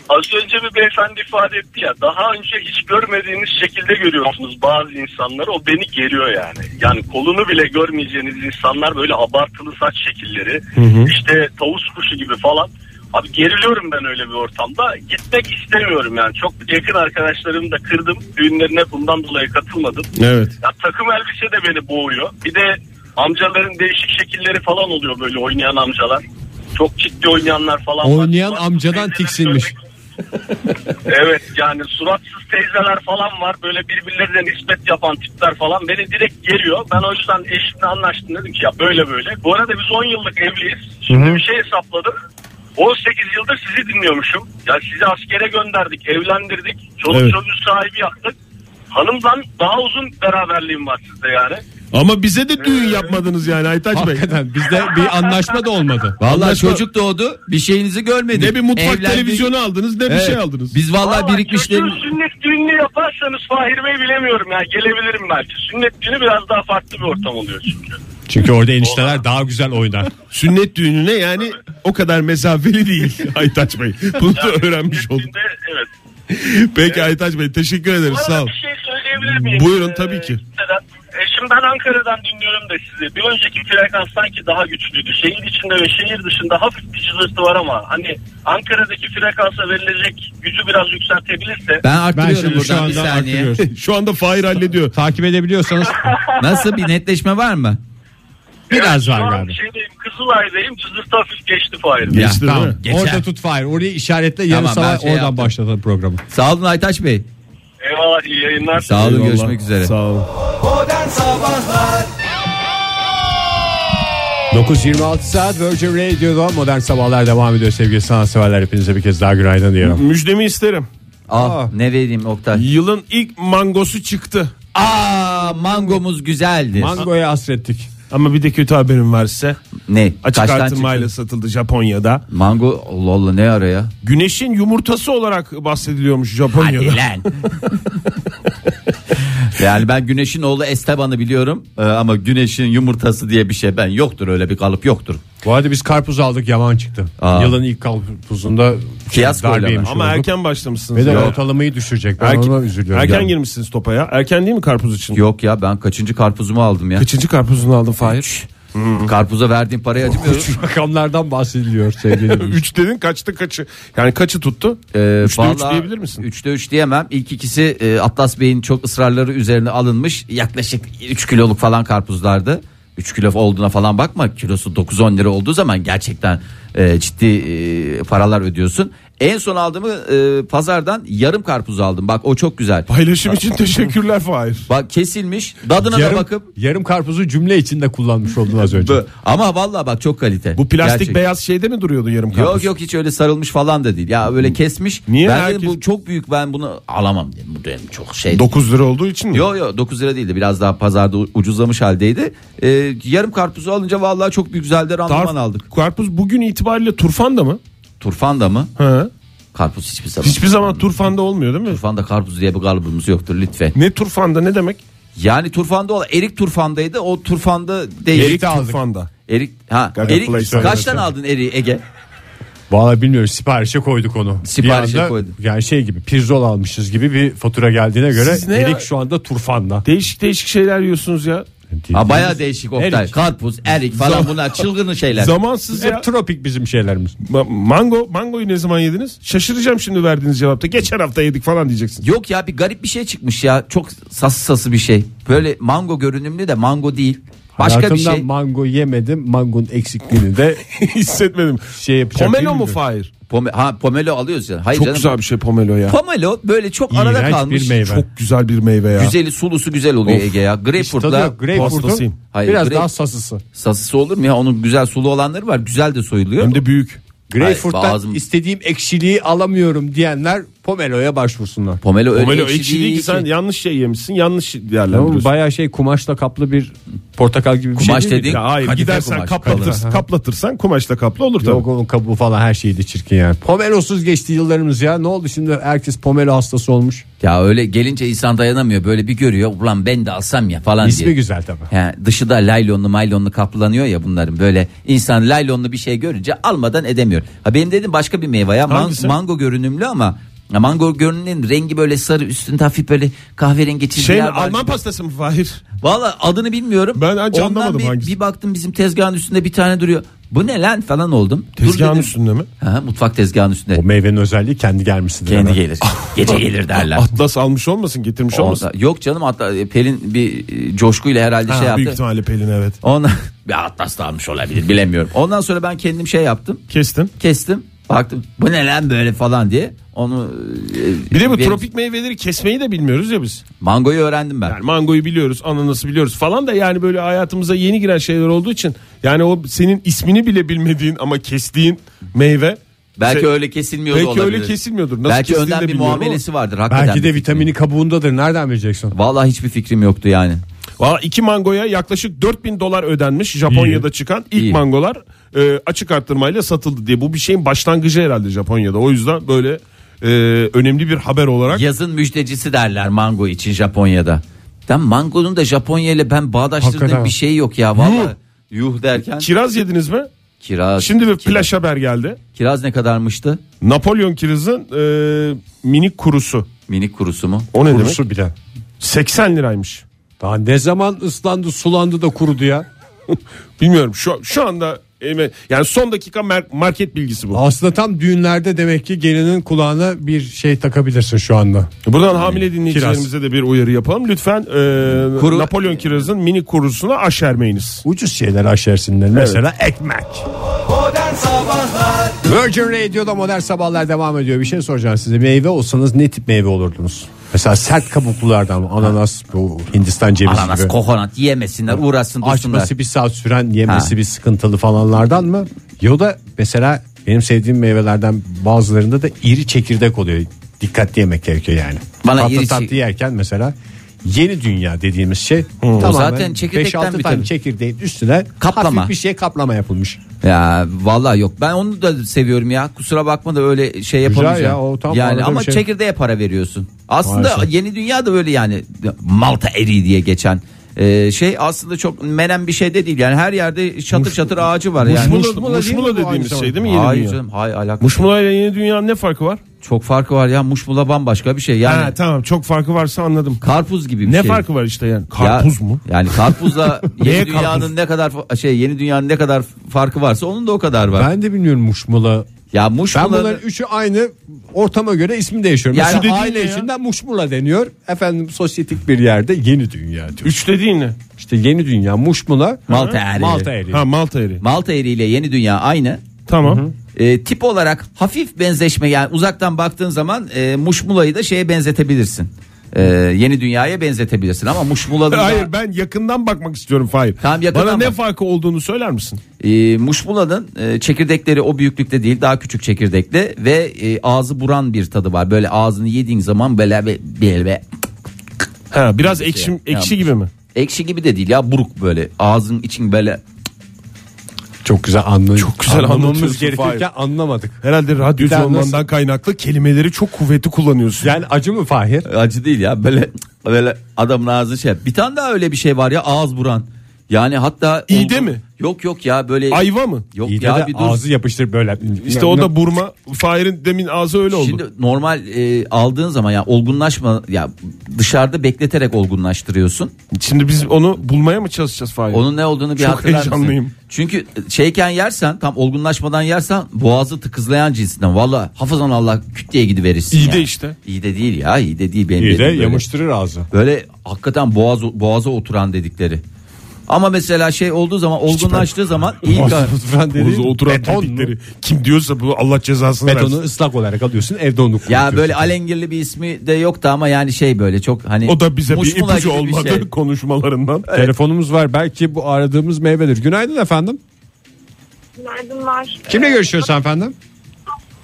S11: Az önce bir beyefendi ifade etti ya daha önce hiç görmediğiniz şekilde görüyorsunuz bazı insanları o beni geriyor yani. Yani kolunu bile görmeyeceğiniz insanlar böyle abartılı saç şekilleri işte tavus kuşu gibi falan. Abi geriliyorum ben öyle bir ortamda. Gitmek istemiyorum yani. Çok yakın arkadaşlarımı da kırdım. Düğünlerine bundan dolayı katılmadım.
S4: Evet.
S11: Ya takım elbise de beni boğuyor. Bir de amcaların değişik şekilleri falan oluyor böyle oynayan amcalar. Çok ciddi oynayanlar falan var.
S2: Oynayan
S11: Bak,
S2: amcadan
S11: teyzeler
S2: tiksinmiş.
S11: Evet yani suratsız teyzeler falan var. Böyle birbirlerine nispet yapan tipler falan. Beni direkt geriyor. Ben o yüzden eşimle anlaştım dedim ki ya böyle böyle. Bu arada biz 10 yıllık evliyiz. Şimdi bir şey hesapladım. 18 yıldır sizi dinliyormuşum. Ya sizi askere gönderdik, evlendirdik. Çoluk
S4: Evet.
S11: çocuk sahibi yaptık. Hanımdan daha uzun beraberliğim var sizde yani.
S4: Ama bize de düğün yapmadınız yani Aytaç Bey.
S2: Hakikaten bizde bir anlaşma da olmadı.
S3: Valla
S4: Anlaşma-
S3: çocuk doğdu. Bir şeyinizi görmedik.
S4: Ne bir mutfak
S3: Evlendik.
S4: televizyonu aldınız ne
S3: Evet.
S4: bir şey aldınız.
S3: Biz valla
S11: Vallahi
S3: birikmişleri...
S11: çocuğun sünnet düğününü yaparsanız Fahir Bey bilemiyorum ya. Gelebilirim belki. Sünnet düğünü biraz daha farklı bir ortam oluyor çünkü.
S2: Çünkü orada enişteler daha güzel oynar.
S4: Sünnet düğününe yani o kadar mesafeli değil Aytaç Bey. Bunu da öğrenmiş olduk.
S11: Şimdi, evet.
S4: Peki Aytaç Bey teşekkür
S11: Bu
S4: ederiz
S11: arada
S4: sağ ol.
S11: bir şey söyleyebilir miyim?
S4: Buyurun, tabii ki.
S11: neden? E, şimdi ben Ankara'dan dinliyorum da sizi. Bir önceki frekans sanki daha güçlüydü. Şehir içinde ve şehir dışında hafif bir çızırtı var ama hani Ankara'daki frekansa verilecek gücü biraz yükseltebilirse
S3: Ben
S2: Ben
S3: arttırıyorum
S2: şimdi şu
S3: buradan bir
S2: anda
S3: saniye.
S2: arttırıyorum.
S4: Şu anda Fahir hallediyor.
S2: Takip edebiliyorsanız
S3: Nasıl bir netleşme var mı?
S2: biraz
S11: şu
S2: var
S11: an
S2: galiba.
S11: şeydeyim Kızılay'dayım çızırtı hafif geçti Fahir.
S3: Ya,
S4: Geçti değil
S2: Tamam.
S4: mi?
S3: Geçer.
S2: Orada tut Fahir. Orayı işaretle yarın
S3: Tamam, ben
S2: sabah
S3: şey
S2: oradan
S3: yaptım.
S2: başlatalım programı.
S3: Sağ olun Aytaç Bey.
S11: Eyvallah iyi yayınlar.
S3: Sağ olun
S4: Eyvallah.
S3: görüşmek üzere.
S4: Sağ olun.
S2: 9.26 saat Virgin Radio'da Modern Sabahlar devam ediyor sevgili sanatseverler. Hepinize bir kez daha günaydın diyorum.
S4: Müjdemi isterim.
S3: Ah ne vereyim Oktay.
S4: Yılın ilk mangosu çıktı.
S3: Aa mangomuz güzeldi.
S2: Mango'ya hasrettik.
S4: Ama bir de kötü haberim varsa
S3: ne?
S4: açık
S3: Kaçtan
S4: artırmayla
S3: çıktı?
S4: satıldı Japonya'da.
S3: Mango Allah Allah ne ara ya?
S4: Güneşin yumurtası olarak bahsediliyormuş Japonya'da.
S3: Hadi lan. yani ben Güneş'in oğlu Esteban'ı biliyorum Ee, ama Güneş'in yumurtası diye bir şey ben yoktur öyle bir kalıp yoktur.
S2: Bu arada biz karpuz aldık yaman çıktı.
S3: Aa.
S2: Yılın ilk karpuzunda
S3: Fiyasko
S2: darbe
S3: ile
S2: yemiş
S4: Ama
S2: olduk.
S4: erken başlamışsınız.
S2: Ve de
S4: ya.
S2: ortalamayı düşürecek. Ben
S4: Erken,
S2: ona üzülüyorum.
S4: erken
S2: Yani.
S4: girmişsiniz topa ya. Erken değil mi karpuz için?
S3: Yok ya ben kaçıncı karpuzumu aldım ya.
S4: Kaçıncı karpuzunu aldın Fahir?
S3: Karpuza verdiğim parayı acımıyorum.
S2: Rakamlardan bahsediliyor sevgili dinleyiciler.
S4: Üç dedin kaçtı kaçı? Yani kaçı tuttu?
S3: Ee,
S4: Üçte üç
S3: vallahi
S4: diyebilir misin?
S3: Üçte üç diyemem. İlk ikisi e, Atlas Bey'in çok ısrarları üzerine alınmış. Yaklaşık 3 kiloluk falan karpuzlardı. 3 kilo olduğuna falan bakma. Kilosu 9-10 lira olduğu zaman gerçekten e, ciddi e, paralar ödüyorsun. En son aldığımı e, pazardan yarım karpuz aldım. Bak o çok güzel.
S4: Paylaşım için teşekkürler Fahir.
S3: Bak kesilmiş. Dadına da
S2: yarım,
S3: bakıp
S2: yarım karpuzu cümle içinde kullanmış oldun az önce.
S3: ama vallahi bak çok kalite.
S4: Bu plastik
S3: Gerçek.
S4: beyaz şeyde mi duruyordu yarım karpuz?
S3: Yok yok hiç öyle sarılmış falan da değil. Ya öyle kesmiş.
S4: Niye
S3: ben
S4: herkes-
S3: dedim, bu çok büyük ben bunu alamam dedim. Bu dedim çok şey.
S4: 9 lira olduğu için mi?
S3: Yo yo 9 lira değildi biraz daha pazarda u- ucuzlamış haldeydi. Ee, yarım karpuzu alınca vallahi çok bir güzel de
S4: Tarf-
S3: randıman aldık.
S4: Karpuz bugün itibariyle turfanda mı?
S3: Turfan da mı?
S4: He.
S3: Karpuz hiçbir zaman.
S4: Hiçbir zaman turfanda olmuyor değil mi?
S3: Turfanda karpuz diye bir kalıbımız yoktur lütfen.
S4: Ne turfanda ne demek?
S3: Yani turfanda olan erik turfandaydı o turfanda değil.
S4: Erik turfanda.
S3: Erik ha
S4: Gaga
S3: erik
S4: Play
S3: kaçtan
S4: söylemesi.
S3: aldın eriği Ege?
S2: Vallahi bilmiyorum siparişe koyduk onu. Bir
S3: Siparişe
S2: anda
S3: koyduk.
S2: Yani şey gibi pirzol almışız gibi bir fatura geldiğine göre
S4: Siz ne
S2: Erik
S4: ya-
S2: şu anda turfanda.
S4: Değişik değişik şeyler yiyorsunuz ya.
S3: Ha bayağı değişik Oktay.
S2: Erik.
S3: Karpuz, erik falan bunlar çılgın şeyler.
S4: Zamansız ya.
S2: Hep tropik bizim şeylerimiz.
S4: Ma- mango, mangoyu ne zaman yediniz? Şaşıracağım şimdi verdiğiniz cevapta. Geçen hafta yedik falan diyeceksin.
S3: Yok ya bir garip bir şey çıkmış ya. Çok sası sası bir şey. Böyle mango görünümlü de mango değil. Başka
S2: Hayatımda
S3: bir şey.
S2: mango yemedim. Mangonun eksikliğini de
S4: Hissetmedim.
S2: şey yapacağım.
S4: Pomelo mu
S2: bilmiyorum.
S4: Fahir?
S3: Pome- ha pomelo alıyoruz ya. Hayır
S4: Çok
S3: canım.
S4: güzel bir şey pomelo ya.
S3: Pomelo böyle çok arada
S2: İğrenç
S3: kalmış.
S2: bir meyve.
S4: Çok güzel bir meyve ya.
S3: Güzeli sulusu güzel oluyor Ege ya.
S2: Tadı
S3: Greyfurt'la
S2: yok. Greyfurt'un
S4: Pastasıyım.
S3: Hayır,
S2: biraz
S3: grape-
S2: daha sasısı.
S3: sasısı olur mu ya? Onun güzel sulu olanları var. Güzel de soyuluyor.
S4: Hem de büyük.
S2: Greyfurt'tan
S3: Hayır, bazı-
S2: istediğim ekşiliği alamıyorum diyenler Pomelo'ya başvursunlar.
S3: Pomelo öyle
S4: Pomelo
S3: ekşi
S4: ekşi değil ki sen yanlış şey yemişsin. Yanlış
S2: Tamam,
S4: değerlendiriyorsun.
S2: bayağı şey kumaşla kaplı bir portakal gibi bir şey
S3: Kumaş
S2: değil mi?
S3: dediğin
S4: Ya hayır
S3: kadife
S4: gidersen
S3: kumaş.
S4: kaplatırsan, kaplatırsan kumaşla kaplı olur tabii.
S2: Yok onun kabuğu falan her şeyi de çirkin yani. Pomelosuz geçti yıllarımız ya. Ne oldu şimdi herkes pomelo hastası olmuş.
S3: Ya öyle gelince insan dayanamıyor. Böyle bir görüyor. Ulan ben de alsam ya falan
S2: İsmi
S3: diye.
S2: güzel tabii.
S3: He, dışı da laylonlu maylonlu kaplanıyor ya bunların böyle insan laylonlu bir şey görünce almadan edemiyor. Ha benim dedim başka bir meyve ya Man-
S4: Hangisi?
S3: mango görünümlü ama ya mango görünümlü rengi böyle sarı üstünde hafif böyle kahverengi çizgiler
S4: Şey mi,
S3: var.
S4: Alman pastası mı Fahir?
S3: Valla adını bilmiyorum.
S4: Ben hiç
S3: Ondan
S4: anlamadım
S3: bir,
S4: hangisi.
S3: bir baktım bizim tezgahın üstünde bir tane duruyor. Bu ne lan falan oldum. Dur
S4: Tezgahın
S3: dedim.
S4: üstünde mi?
S3: Ha, mutfak tezgahın üstünde.
S2: O meyvenin özelliği kendi gelmesidir.
S3: Kendi
S2: hemen.
S3: gelir. Gece gelir derler.
S4: Atlas almış olmasın getirmiş olmasın.
S3: Orada- Yok canım hatta e, Pelin bir e, coşkuyla herhalde
S4: Ha,
S3: şey yaptı.
S4: büyük ihtimalle Pelin evet.
S3: Ondan bir atlas da almış olabilir bilemiyorum. Ondan sonra ben kendim şey yaptım.
S4: Kestin.
S3: Kestim. Baktım bu ne lan böyle falan diye. Onu e,
S4: Bir de bu
S3: benim-
S4: tropik meyveleri kesmeyi de bilmiyoruz ya biz.
S3: mangoyu öğrendim ben.
S4: Yani mangoyu biliyoruz, ananası biliyoruz falan da yani böyle hayatımıza yeni giren şeyler olduğu için yani o senin ismini bile bilmediğin ama kestiğin meyve
S3: belki
S4: Şey-
S3: öyle kesilmiyor
S4: belki
S3: da olabilir.
S4: öyle kesilmiyordur. Nasıl
S3: belki
S4: kestiğini de
S3: önden bir
S4: bilmiyorum
S3: muamelesi vardır hakikaten.
S2: Belki de
S3: bir fikrim
S2: vitamini kabuğundadır. Nereden bileceksin?
S3: yok. Vallahi hiçbir fikrim yoktu yani.
S4: Valla iki mangoya yaklaşık 4000 dolar ödenmiş Japonya'da çıkan ilk
S3: İyi.
S4: mangolar e, açık arttırmayla satıldı diye. Bu bir şeyin başlangıcı herhalde Japonya'da. O yüzden böyle e, önemli bir haber olarak
S3: Yazın müjdecisi derler mango için Japonya'da. Tam mangonun da Japonya ile ben bağdaştırdığım
S2: Hakikaten.
S3: bir şey yok ya vallahi. Yuh derken
S4: Kiraz yediniz mi?
S3: kiraz.
S4: Şimdi bir
S3: kiraz.
S4: flash haber geldi.
S3: Kiraz ne kadarmıştı?
S4: Napolyon kirazın e, minik kurusu.
S3: Minik kurusu mu?
S4: O ne demek?
S2: Kurusu bile.
S4: 80 liraymış.
S2: Daha ne zaman ıslandı sulandı da kurudu ya.
S4: Bilmiyorum şu şu anda elime- yani son dakika mer- market bilgisi bu.
S2: Aslında tam düğünlerde demek ki gelinin kulağına bir şey takabilirsin şu anda.
S4: Buradan hamile dinleyicilerimize de bir uyarı yapalım. Lütfen e,
S3: Kuru-
S4: Napolyon kirazın mini kurusunu aşermeyiniz.
S2: Ucuz şeyler aşersinler. Mesela ekmek. Virgin Radio'da modern sabahlar devam ediyor. Bir şey soracağım size. Meyve olsanız ne tip meyve olurdunuz? Mesela sert kabuklulardan mı? ananas, bu Hindistan cevizi
S3: Ananas,
S2: gibi.
S3: kokonat yemesinler uğraşsın dursunlar.
S2: Açması bir saat süren, yemesi
S3: Ha.
S2: bir sıkıntılı falanlardan mı? Ya da mesela benim sevdiğim meyvelerden bazılarında da iri çekirdek oluyor. Dikkatli yemek gerekiyor yani.
S3: Bana
S2: tatlı
S3: iri çek-
S2: tatlı yerken mesela yeni dünya dediğimiz şey
S3: O
S2: tamamen
S3: zaten
S2: zaten
S3: çekirdekten
S2: 5-6
S3: bir
S2: tane
S3: tabii.
S2: çekirdeğin üstüne
S3: Kaplama.
S2: hafif bir şey kaplama yapılmış.
S3: Ya vallahi yok. Ben onu da seviyorum ya. Kusura bakma da öyle şey yapamayacağım.
S2: ya, o tam
S3: yani
S2: arada
S3: ama
S2: bir şey.
S3: çekirdeğe para veriyorsun. Aslında
S2: Maalesef.
S3: yeni dünyada böyle yani Malta eriği diye geçen e, şey aslında çok menen bir şey de değil. Yani her yerde çatır çatır ağacı var yani.
S4: Muşmula,
S2: Muşmula değil mi
S4: muşmula
S2: bu aynı
S4: dediğimiz
S2: zamanda?
S4: şey değil mi? Yeni
S3: Hayır
S4: dünya.
S3: canım, hayır alakası.
S4: Muşmula ile yeni dünyanın ne farkı var?
S3: Çok farkı var ya. Muşmula bambaşka bir şey. Yani
S4: Ha, tamam çok farkı varsa anladım.
S3: karpuz gibi bir
S4: Ne
S3: şey.
S4: farkı var işte yani?
S3: Ya,
S4: Karpuz mu?
S3: Yani karpuzla yeni
S4: Neye
S3: dünyanın
S4: karpuz?
S3: ne kadar fa- şey yeni dünyanın ne kadar farkı varsa onun da o kadar var.
S2: Ben de bilmiyorum muşmula.
S3: ya
S2: Ben
S3: muşmula
S2: bunların üçü aynı ortama göre ismi değişiyor.
S3: Yani
S2: Mesela
S3: aynı
S2: aile
S3: ya.
S2: içinden muşmula deniyor. Efendim sosyetik bir yerde yeni dünya diyor.
S4: Üç dediğin ne?
S2: İşte yeni dünya muşmula.
S3: Malta eriği.
S2: Malta
S3: Şey-
S2: eriği.
S4: Ha Malta eri.
S3: Malta eriğiyle yeni dünya aynı.
S4: Tamam.
S3: E, tip olarak hafif benzeşme yani uzaktan baktığın zaman e, muşmulayı da şeye benzetebilirsin. E, yeni dünyaya benzetebilirsin ama muşmulanın da,
S4: Hayır ben yakından bakmak istiyorum Fahir.
S3: Tamam, yakından
S4: Bana ne
S3: bak.
S4: farkı olduğunu söyler misin?
S3: e, muşmulanın e, çekirdekleri o büyüklükte değil daha küçük çekirdekli ve e, ağzı buran bir tadı var. Böyle ağzını yediğin zaman böyle bir böyle bir-
S4: Ha biraz ekşim
S3: Ya,
S4: ekşi gibi mi?
S3: ekşi gibi de değil ya buruk böyle ağzın için böyle
S2: Çok güzel anlayın. Çok
S4: güzel anlatıyorsun,
S2: anlamamız gerekirken
S4: Fahir.
S2: anlamadık.
S4: Herhalde radyocu
S2: daha
S4: olmandan
S2: nasıl-
S4: kaynaklı kelimeleri çok kuvvetli kullanıyorsun.
S2: Yani acı mı Fahir?
S3: acı değil ya böyle böyle adamın ağzı şey. Bir tane daha öyle bir şey var ya ağız buran. Yani hatta
S4: İğde mi?
S3: Yok yok ya böyle
S4: Ayva mı?
S3: Yok
S2: İyi de
S3: ya
S2: de
S3: bir dur.
S2: ağzı yapıştır böyle.
S4: İşte o da burma. Fahir'in demin ağzı öyle oldu.
S3: Şimdi normal e, aldığın zaman ya olgunlaşma ya dışarıda bekleterek olgunlaştırıyorsun.
S4: Şimdi biz onu bulmaya mı çalışacağız Fahir?
S3: Onun ne olduğunu bir
S4: Çok
S3: hatırlar mısın?
S4: heyecanlıyım.
S3: Çünkü e, şeyken yersen tam olgunlaşmadan yersen boğazı tıkızlayan cinsinden. Valla hafızan Allah küt diye gidiverirsin.
S4: İyi de
S3: yani.
S4: işte.
S3: İyi de değil ya iyi de değil. Benim
S2: İyi de
S3: dediğim böyle.
S2: yamıştırır ağzı.
S3: Böyle hakikaten boğaz, boğaza oturan dedikleri. Ama mesela şey olduğu zaman olgunlaştığı zaman iyi
S2: Oturan dediğin
S4: Orada oturan
S2: beton mu?
S4: dedikleri. Kim diyorsa bu Allah cezasını
S2: Betonu
S4: versin.
S2: ıslak olarak alıyorsun evde onu
S3: Ya
S2: kurutuyorsun.
S3: böyle alengirli bir ismi de yoktu ama yani şey böyle çok hani
S4: O da bize bir
S3: muşmula
S4: ipucu
S3: gibi bir
S4: olmadı
S3: şey.
S4: konuşmalarından.
S2: Telefonumuz var belki bu aradığımız meyvedir. Günaydın efendim.
S8: Günaydınlar.
S2: Kimle görüşüyoruz efendim?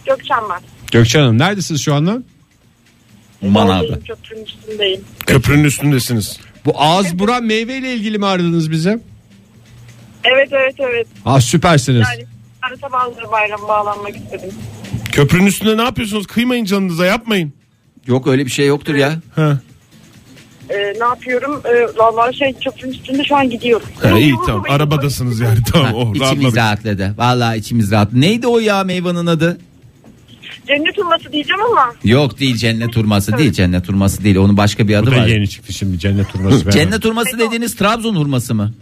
S8: Ee, Gökçen ben.
S2: Gökçen Hanım neredesiniz şu anda?
S3: Manav'da.
S8: Köprünün üstündeyim.
S4: Köprünün üstündesiniz.
S2: Bu ağız buran meyveyle ilgili mi aradınız bize?
S8: Evet evet evet.
S2: Ah süpersiniz.
S8: Yani Arata Bağları Bayramı bağlanmak istedim.
S4: Köprünün üstünde ne yapıyorsunuz? Kıymayın canınıza yapmayın.
S3: Yok öyle bir şey yoktur ya.
S4: Ha.
S8: Ee, ne yapıyorum? Ee, Valla şey köprünün üstünde şu an gidiyorum.
S4: Ha, iyi tamam arabadasınız yani tamam oh,
S3: içimiz
S4: rahatladık.
S3: rahatladı. Vallahi içimiz rahat. Neydi o ya meyvanın adı?
S8: Cennet Urması diyeceğim ama
S3: Yok değil cennet hurması değil. Cennet hurması değil. Onun başka bir adı
S2: Bu da
S3: var.
S2: yeni çıktı şimdi cennet turması. falan.
S3: Cennet hurması dediğiniz Trabzon hurması mı?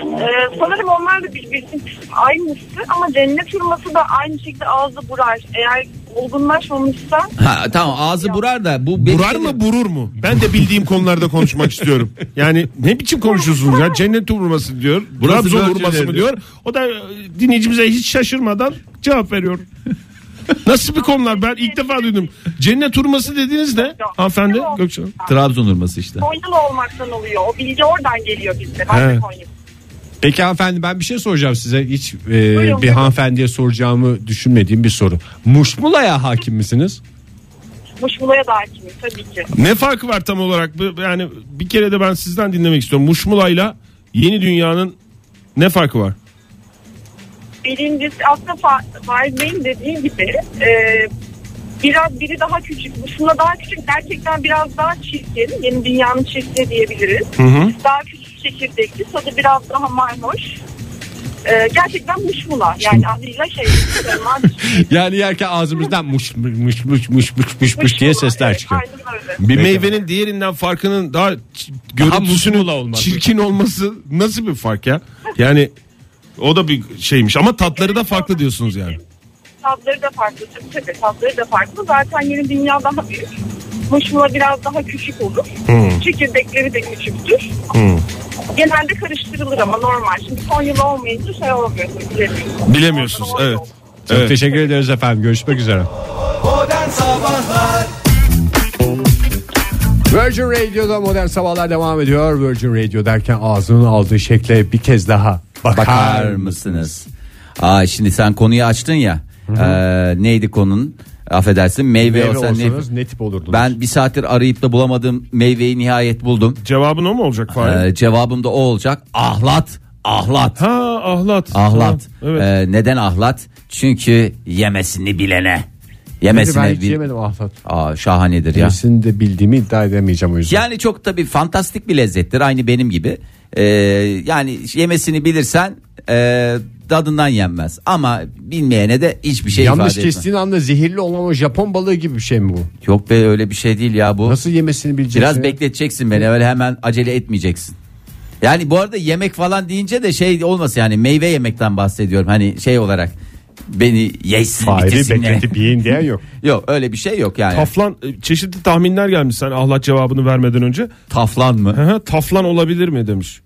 S8: Ee, sanırım onlar da birbirinin aynısı ama cennet hurması da aynı şekilde ağzı burar. Eğer olgunlaşmamışsa
S3: Ha, tamam ağzı burar da bu
S4: Burar
S3: benim-
S4: mı burur mu? Ben de bildiğim konularda konuşmak istiyorum. Yani ne biçim konuşuyorsunuz ya? Cennet vurması diyor.
S3: Burası
S4: Trabzon
S3: Virgin'de
S4: vurması mı
S3: diyor.
S4: diyor. O da e, dinleyicimize hiç şaşırmadan cevap veriyor. Nasıl bir konular? Ben ilk defa duydum. Cennet vurması dediğiniz ne? Hanımefendi Gökçe Hanım.
S3: Trabzon hurması işte.
S8: Konyalı olmaktan oluyor. O bilgi oradan geliyor bizde.
S4: Ben de
S8: Ben
S4: He.
S8: de
S2: Peki hanımefendi ben bir şey soracağım size. Hiç e, bir
S8: buyurun.
S2: hanımefendiye soracağımı düşünmediğim bir soru. Muşmula'ya hakim misiniz?
S8: Muşmula'ya da hakimim tabii ki.
S4: Ne farkı var tam olarak? Bu- Yani bir kere de ben sizden dinlemek istiyorum. Muşmula'yla Yeni Dünya'nın ne farkı var?
S8: Birincisi aslında Fa- Fahir Bey'in dediği gibi e, Biraz biri daha küçük. Aslında daha küçük gerçekten biraz daha çirkin. Yeni dünyanın çirkini diyebiliriz. Daha küçük çekirdekli. Tadı biraz daha mayhoş. Ee, gerçekten muşmula. Yani adıyla şey. sarılmaz.
S2: Yani yerken ağzımızdan muş muş muş muş muş muş muş diye sesler
S8: Evet,
S2: çıkıyor.
S8: Aynen öyle.
S4: Bir meyvenin diğerinden farkının daha ç- görüntüsünün
S2: musmula olması.
S4: çirkin olması nasıl bir fark ya? Yani o da bir şeymiş ama tatları da farklı diyorsunuz yani.
S8: Tatları da farklı. Tabii tatları da farklı. Zaten yeni dünya daha büyük. Muşmula biraz daha küçük olur. Çekirdekleri de küçüktür. Genelde karıştırılır ama normal. Şimdi son yıl olmayınca şey olmuyor. bilemiyorum.
S4: Bilemiyorsunuz
S8: Son yıl
S4: evet.
S8: olmuyor.
S2: Çok
S4: Evet.
S2: teşekkür ederiz efendim. Görüşmek üzere. Virgin Radio'da modern sabahlar devam ediyor. Virgin Radio derken ağzının aldığı şekle bir kez daha bakar,
S3: Bakar
S2: mısın?
S3: mısınız? Aa şimdi sen konuyu açtın ya. Ee, neydi konunun? Affedersin meyve,
S2: Meyve
S3: olsa ne-
S2: olsanız ne tip olurdunuz?
S3: Ben bir saattir arayıp da bulamadığım meyveyi nihayet buldum.
S4: Cevabın o mu olacak Fahir?
S3: Ee, cevabım da o olacak. Ahlat, ahlat.
S4: Ha ahlat.
S3: Ahlat.
S4: Ha, evet.
S3: Ee, neden ahlat? Çünkü yemesini bilene.
S2: Nedir? ben
S3: Yemesine
S2: hiç
S3: bil-
S2: yemedim ahlat.
S3: Aa, şahanedir ya.
S2: Birisini de bildiğimi iddia edemeyeceğim o yüzden.
S3: Yani çok tabii fantastik bir lezzettir aynı benim gibi. Ee, yani yemesini bilirsen e, tadından yenmez. Ama bilmeyene de hiçbir şey
S2: Yanlış
S3: ifade etmez.
S2: kestiğin anda zehirli olan o Japon balığı gibi bir şey mi bu?
S3: Yok be öyle bir şey değil ya bu.
S2: Nasıl şey? yemesini bileceksin?
S3: Biraz
S2: ya?
S3: bekleteceksin beni öyle hemen acele etmeyeceksin. Yani bu arada yemek falan deyince de şey olmasın yani meyve yemekten bahsediyorum. Hani şey olarak beni yesin
S2: Hayri
S3: bitirsin yani.
S2: bekletip yiyin diyen yok.
S3: Yok öyle bir şey yok yani.
S4: Taflan e, çeşitli tahminler gelmiş sen ahlat cevabını vermeden önce.
S3: Taflan
S4: Hı
S3: mı?
S4: hı, Taflan olabilir mi demiş.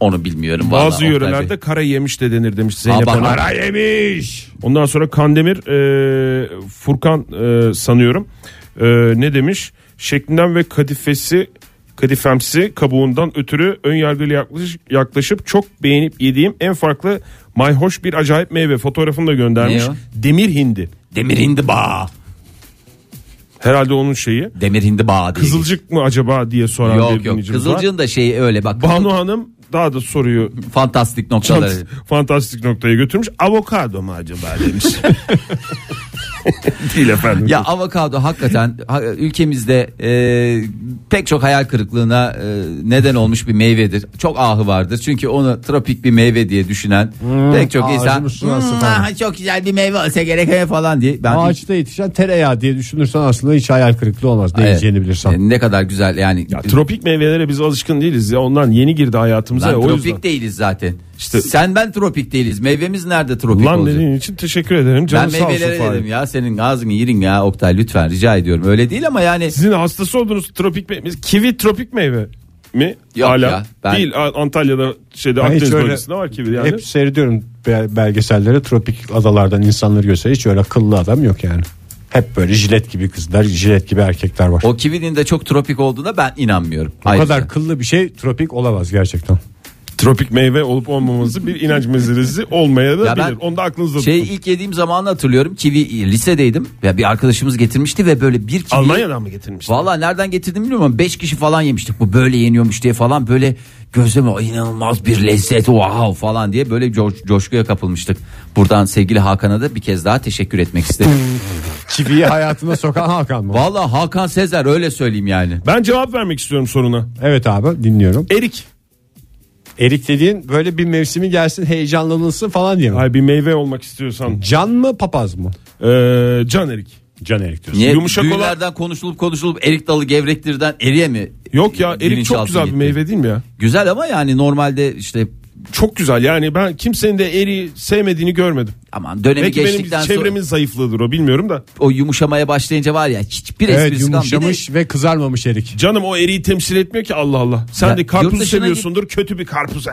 S3: Onu bilmiyorum. vallahi
S4: Bazı
S3: Oktay
S4: yörelerde
S3: Bey.
S4: kara yemiş de denir demiş
S3: Aa,
S4: Zeynep
S3: bak-
S4: Hanım.
S2: yemiş.
S4: Ondan sonra Kandemir e, Furkan e, sanıyorum e, ne demiş? Şeklinden ve kadifesi kadifemsi kabuğundan ötürü ön yargıyla yaklaş- yaklaşıp çok beğenip yediğim en farklı mayhoş bir acayip meyve fotoğrafını da göndermiş.
S3: Ne o?
S4: Demir hindi.
S3: Demir hindi bağ.
S4: Herhalde onun şeyi.
S3: Demir hindi bağ diye.
S4: Kızılcık mı acaba diye soran bir
S3: Yok yok.
S4: dinleyicimiz var.
S3: Kızılcığın da şeyi öyle bak.
S4: Banu Hanım daha da soruyu
S3: Fantastik noktaları.
S4: fant- fantastik noktaya götürmüş. Avokado mu acaba demiş. Değil efendim.
S3: Ya avokado hakikaten ha- ülkemizde e, pek çok hayal kırıklığına e, neden olmuş bir meyvedir. Çok ahı vardır. Çünkü onu tropik bir meyve diye düşünen
S4: Hmm,
S3: pek çok
S2: ağacın
S3: insan
S2: üstüne asıl
S3: "Hmm,
S2: falan."
S3: aha, çok güzel bir meyve olsa gerek he," falan diye. Ben
S2: Ağaçta yetişen tereyağı diye düşünürsen aslında hiç hayal kırıklığı olmaz. Ne
S3: Evet.
S2: yiyeceğini bilirsen.
S3: E, Ne kadar güzel yani.
S4: Ya tropik meyvelere biz alışkın değiliz ya. Ondan yeni girdi hayatımıza.
S3: Lan
S4: ya, o
S3: tropik
S4: yüzden.
S3: değiliz zaten.
S4: İşte-
S3: Sen ben tropik değiliz. Meyvemiz nerede tropik
S4: Lan
S3: olacak?
S4: dediğin için teşekkür ederim.
S3: Ben
S4: Canım sağ olsun
S3: meyvelere dedim
S4: Fahir.
S3: ya senin ağzını yirin ya Oktay lütfen rica ediyorum. Öyle değil ama yani
S4: Sizin hastası olduğunuz tropik meyve. Kivi tropik meyve mi?
S3: Yok
S4: Hala.
S3: ya, ben-
S4: Değil A- Antalya'da şeyde
S2: Ben hiç
S4: Akdeniz
S2: öyle-
S4: bölgesinde var kivi yani.
S2: Hep seyrediyorum be- belgeselleri tropik adalardan insanları gösteriyor. Hiç öyle akıllı adam yok yani. Hep böyle jilet gibi kızlar, jilet gibi erkekler var. O,
S3: o kivinin de çok tropik olduğuna ben inanmıyorum. Ayrıca.
S2: kadar kıllı bir şey tropik olamaz gerçekten.
S4: Tropik meyve olup olmaması bir inanç meselesi olmaya da
S3: Ya ben-
S4: bilir. Onu da aklınızda
S3: Şey
S4: tutun.
S3: ilk yediğim zamanı hatırlıyorum. Kivi e, lisedeydim. Ya bir arkadaşımız getirmişti ve böyle bir kivi.
S4: Almanya'dan mı getirmiştin?
S3: Valla nereden getirdim bilmiyorum ama 5 kişi falan yemiştik. Bu böyle yeniyormuş diye falan böyle gözleme "Ay, inanılmaz bir lezzet wow falan diye böyle co- coşkuya kapılmıştık. Buradan sevgili Hakan'a da bir kez daha teşekkür etmek istedim.
S2: Kiviyi hayatına sokan Hakan mı?
S3: Valla Hakan Sezer öyle söyleyeyim yani.
S4: Ben cevap vermek istiyorum soruna.
S2: Evet abi dinliyorum.
S4: Erik.
S2: Erik dediğin böyle bir mevsimi gelsin heyecanlanılsın falan diye mi?
S4: Ay bir meyve olmak istiyorsan.
S2: Can mı papaz mı?
S4: Ee, can erik.
S2: Can Erik diyorsun.
S3: Niye
S4: Yumuşak olan-
S3: düğünlerden konuşulup konuşulup erik dalı gevrektirden eriye mi?
S4: Yok ya erik
S3: bilinçaltı
S4: çok güzel bir
S3: gitti?
S4: meyve değil mi ya?
S3: Güzel ama yani normalde işte
S4: Çok güzel yani ben kimsenin de eri sevmediğini görmedim.
S3: aman dönemi
S4: Belki
S3: geçtikten
S4: benim
S3: sonra
S4: çevremin zayıflığıdır o bilmiyorum da.
S3: o yumuşamaya başlayınca var ya hiçbir
S2: Evet
S3: esprisi E, kalmıyor. Bir de-
S2: yumuşamış ve kızarmamış Erik.
S4: Canım o eriği temsil etmiyor ki Allah Allah. Sen
S3: Ya,
S4: de
S3: yurt
S4: karpuz
S3: dışına
S4: seviyorsundur kötü bir karpuz. Ee,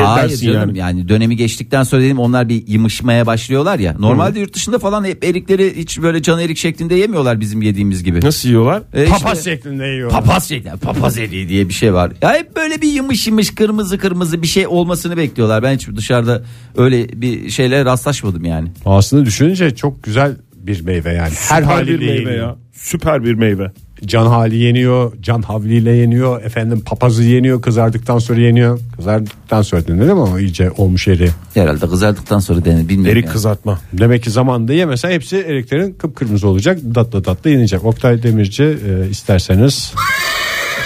S3: Hayır
S4: dersin
S3: canım yani.
S4: yani.
S3: dönemi geçtikten sonra dedim onlar bir yımışmaya başlıyorlar ya. Normalde yurt dışında falan hep erikleri hiç böyle can erik şeklinde yemiyorlar bizim yediğimiz gibi.
S4: Nasıl yiyorlar?
S3: E işte-
S2: Papaz şeklinde yiyor.
S3: papaz şeyler papaz eriği diye bir şey var. Ya hep böyle bir yımış yımış kırmızı kırmızı bir şey olmasını bekliyorlar. Ben hiç dışarıda öyle bir şeyle rastlaşmadım yani.
S2: Aslında düşününce çok güzel bir meyve yani. Her
S4: Süper
S2: haliyle
S4: bir meyve
S2: yeniyor.
S4: ya. Süper bir meyve.
S2: Can hali yeniyor, can havliyle yeniyor, efendim papazı yeniyor, kızardıktan sonra yeniyor. Kızardıktan sonra denir ama o iyice olmuş eri.
S3: Herhalde kızardıktan sonra denir bilmiyorum.
S4: Erik
S3: yani.
S4: kızartma.
S2: Demek ki zamanında yemesen hepsi eriklerin kıpkırmızı olacak. Datla datla yenecek. Oktay Demirci e, isterseniz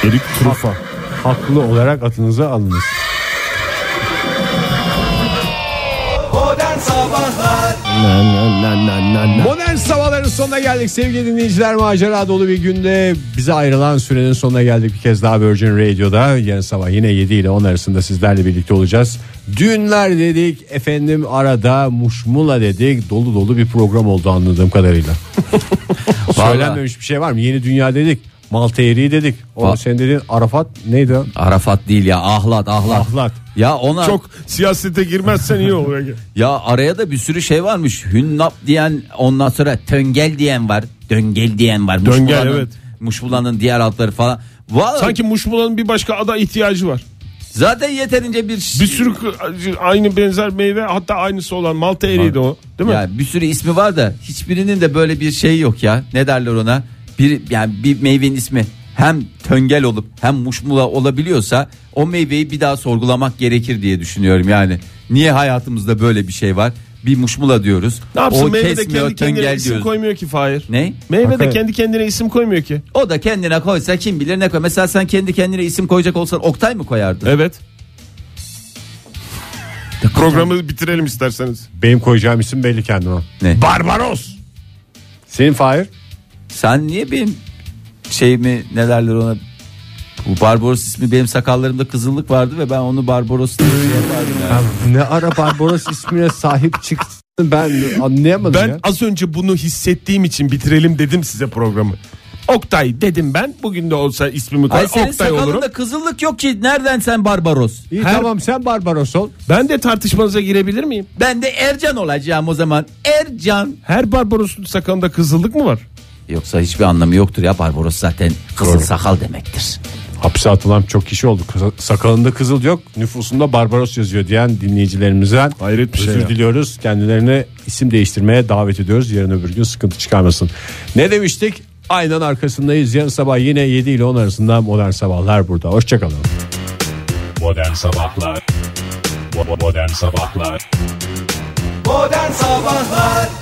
S4: Erik trufa.
S2: haklı olarak adınızı alınız. Modern sabahların sonuna geldik sevgili dinleyiciler macera dolu bir günde bize ayrılan sürenin sonuna geldik bir kez daha Virgin Radio'da yarın sabah yine 7 ile 10 arasında sizlerle birlikte olacağız. Düğünler dedik efendim arada muşmula dedik dolu dolu bir program oldu anladığım kadarıyla. Söylenmemiş bir şey var mı yeni dünya dedik Malta eriği dedik. O
S3: Va-
S2: sen dediğin Arafat neydi? o?
S3: Arafat değil ya ahlat ahlat.
S2: Ahlat.
S3: Ya ona
S4: Çok siyasete girmezsen iyi olur. Ege.
S3: ya araya da bir sürü şey varmış. Hünnap diyen ondan sonra töngel diyen var. Döngel diyen var.
S4: Döngel,
S3: Muşbulanın-
S4: evet.
S3: Muşbulanın diğer altları falan. Vallahi
S4: Sanki muşmulanın bir başka ada ihtiyacı var.
S3: zaten yeterince bir
S4: Bir sürü k- aynı benzer meyve hatta aynısı olan Malta eriydi o. Değil mi?
S3: Ya bir sürü ismi var da hiçbirinin de böyle bir şeyi yok ya. Ne derler ona? Bir yani bir meyvenin ismi hem töngel olup hem muşmula olabiliyorsa o meyveyi bir daha sorgulamak gerekir diye düşünüyorum yani. Niye hayatımızda böyle bir şey var? Bir muşmula diyoruz.
S4: ne yapsın
S3: o
S4: meyve de
S3: kesmiyor
S4: kendi kendine
S3: töngel
S4: isim
S3: diyoruz.
S4: koymuyor ki Fahir.
S3: Ne?
S4: Meyve de
S2: Hakikaten.
S4: kendi kendine isim koymuyor ki.
S3: O da kendine koysa kim bilir ne koy. Mesela sen kendi kendine isim koyacak olsan Oktay mı koyardın?
S4: Evet. Programı bitirelim isterseniz.
S2: Benim koyacağım isim belli kendime.
S3: Ne?
S2: Barbaros. Senin Fahir?
S3: Sen niye benim şeyimi ne derler ona bu Barbaros ismi benim sakallarımda kızıllık vardı ve ben onu Barbaros diye şey yapardım yani.
S2: Ne ara Barbaros ismine sahip çıktın ben anlayamadım
S4: Ben
S2: ya.
S4: az önce bunu hissettiğim için bitirelim dedim size programı. Oktay dedim ben. Bugün de olsa ismimi koy.
S3: Ay senin
S4: Oktay
S3: sakalında
S4: olurum.
S3: kızıllık yok ki nereden sen Barbaros?
S2: İyi
S4: Her-
S2: tamam sen Barbaros ol.
S4: Ben de tartışmanıza girebilir miyim?
S3: Ben de Ercan olacağım o zaman. Ercan.
S4: Her Barbaros'un sakalında kızıllık mı var?
S3: Yoksa hiçbir anlamı yoktur ya Barbaros zaten kızıl sakal demektir.
S2: Hapse atılan çok kişi oldu. Kısa- Sakalında kızıl yok, nüfusunda Barbaros yazıyor diyen dinleyicilerimizden
S4: Hayret bir şey
S2: özür
S4: ya.
S2: diliyoruz. Kendilerine isim değiştirmeye davet ediyoruz. Yarın öbür gün sıkıntı çıkarmasın. Ne demiştik? Aynen arkasındayız. Yarın sabah yine 7 ile 10 arasında modern sabahlar burada. Hoşçakalın.
S1: Modern Sabahlar Bo- bo- Modern Sabahlar
S12: Modern Sabahlar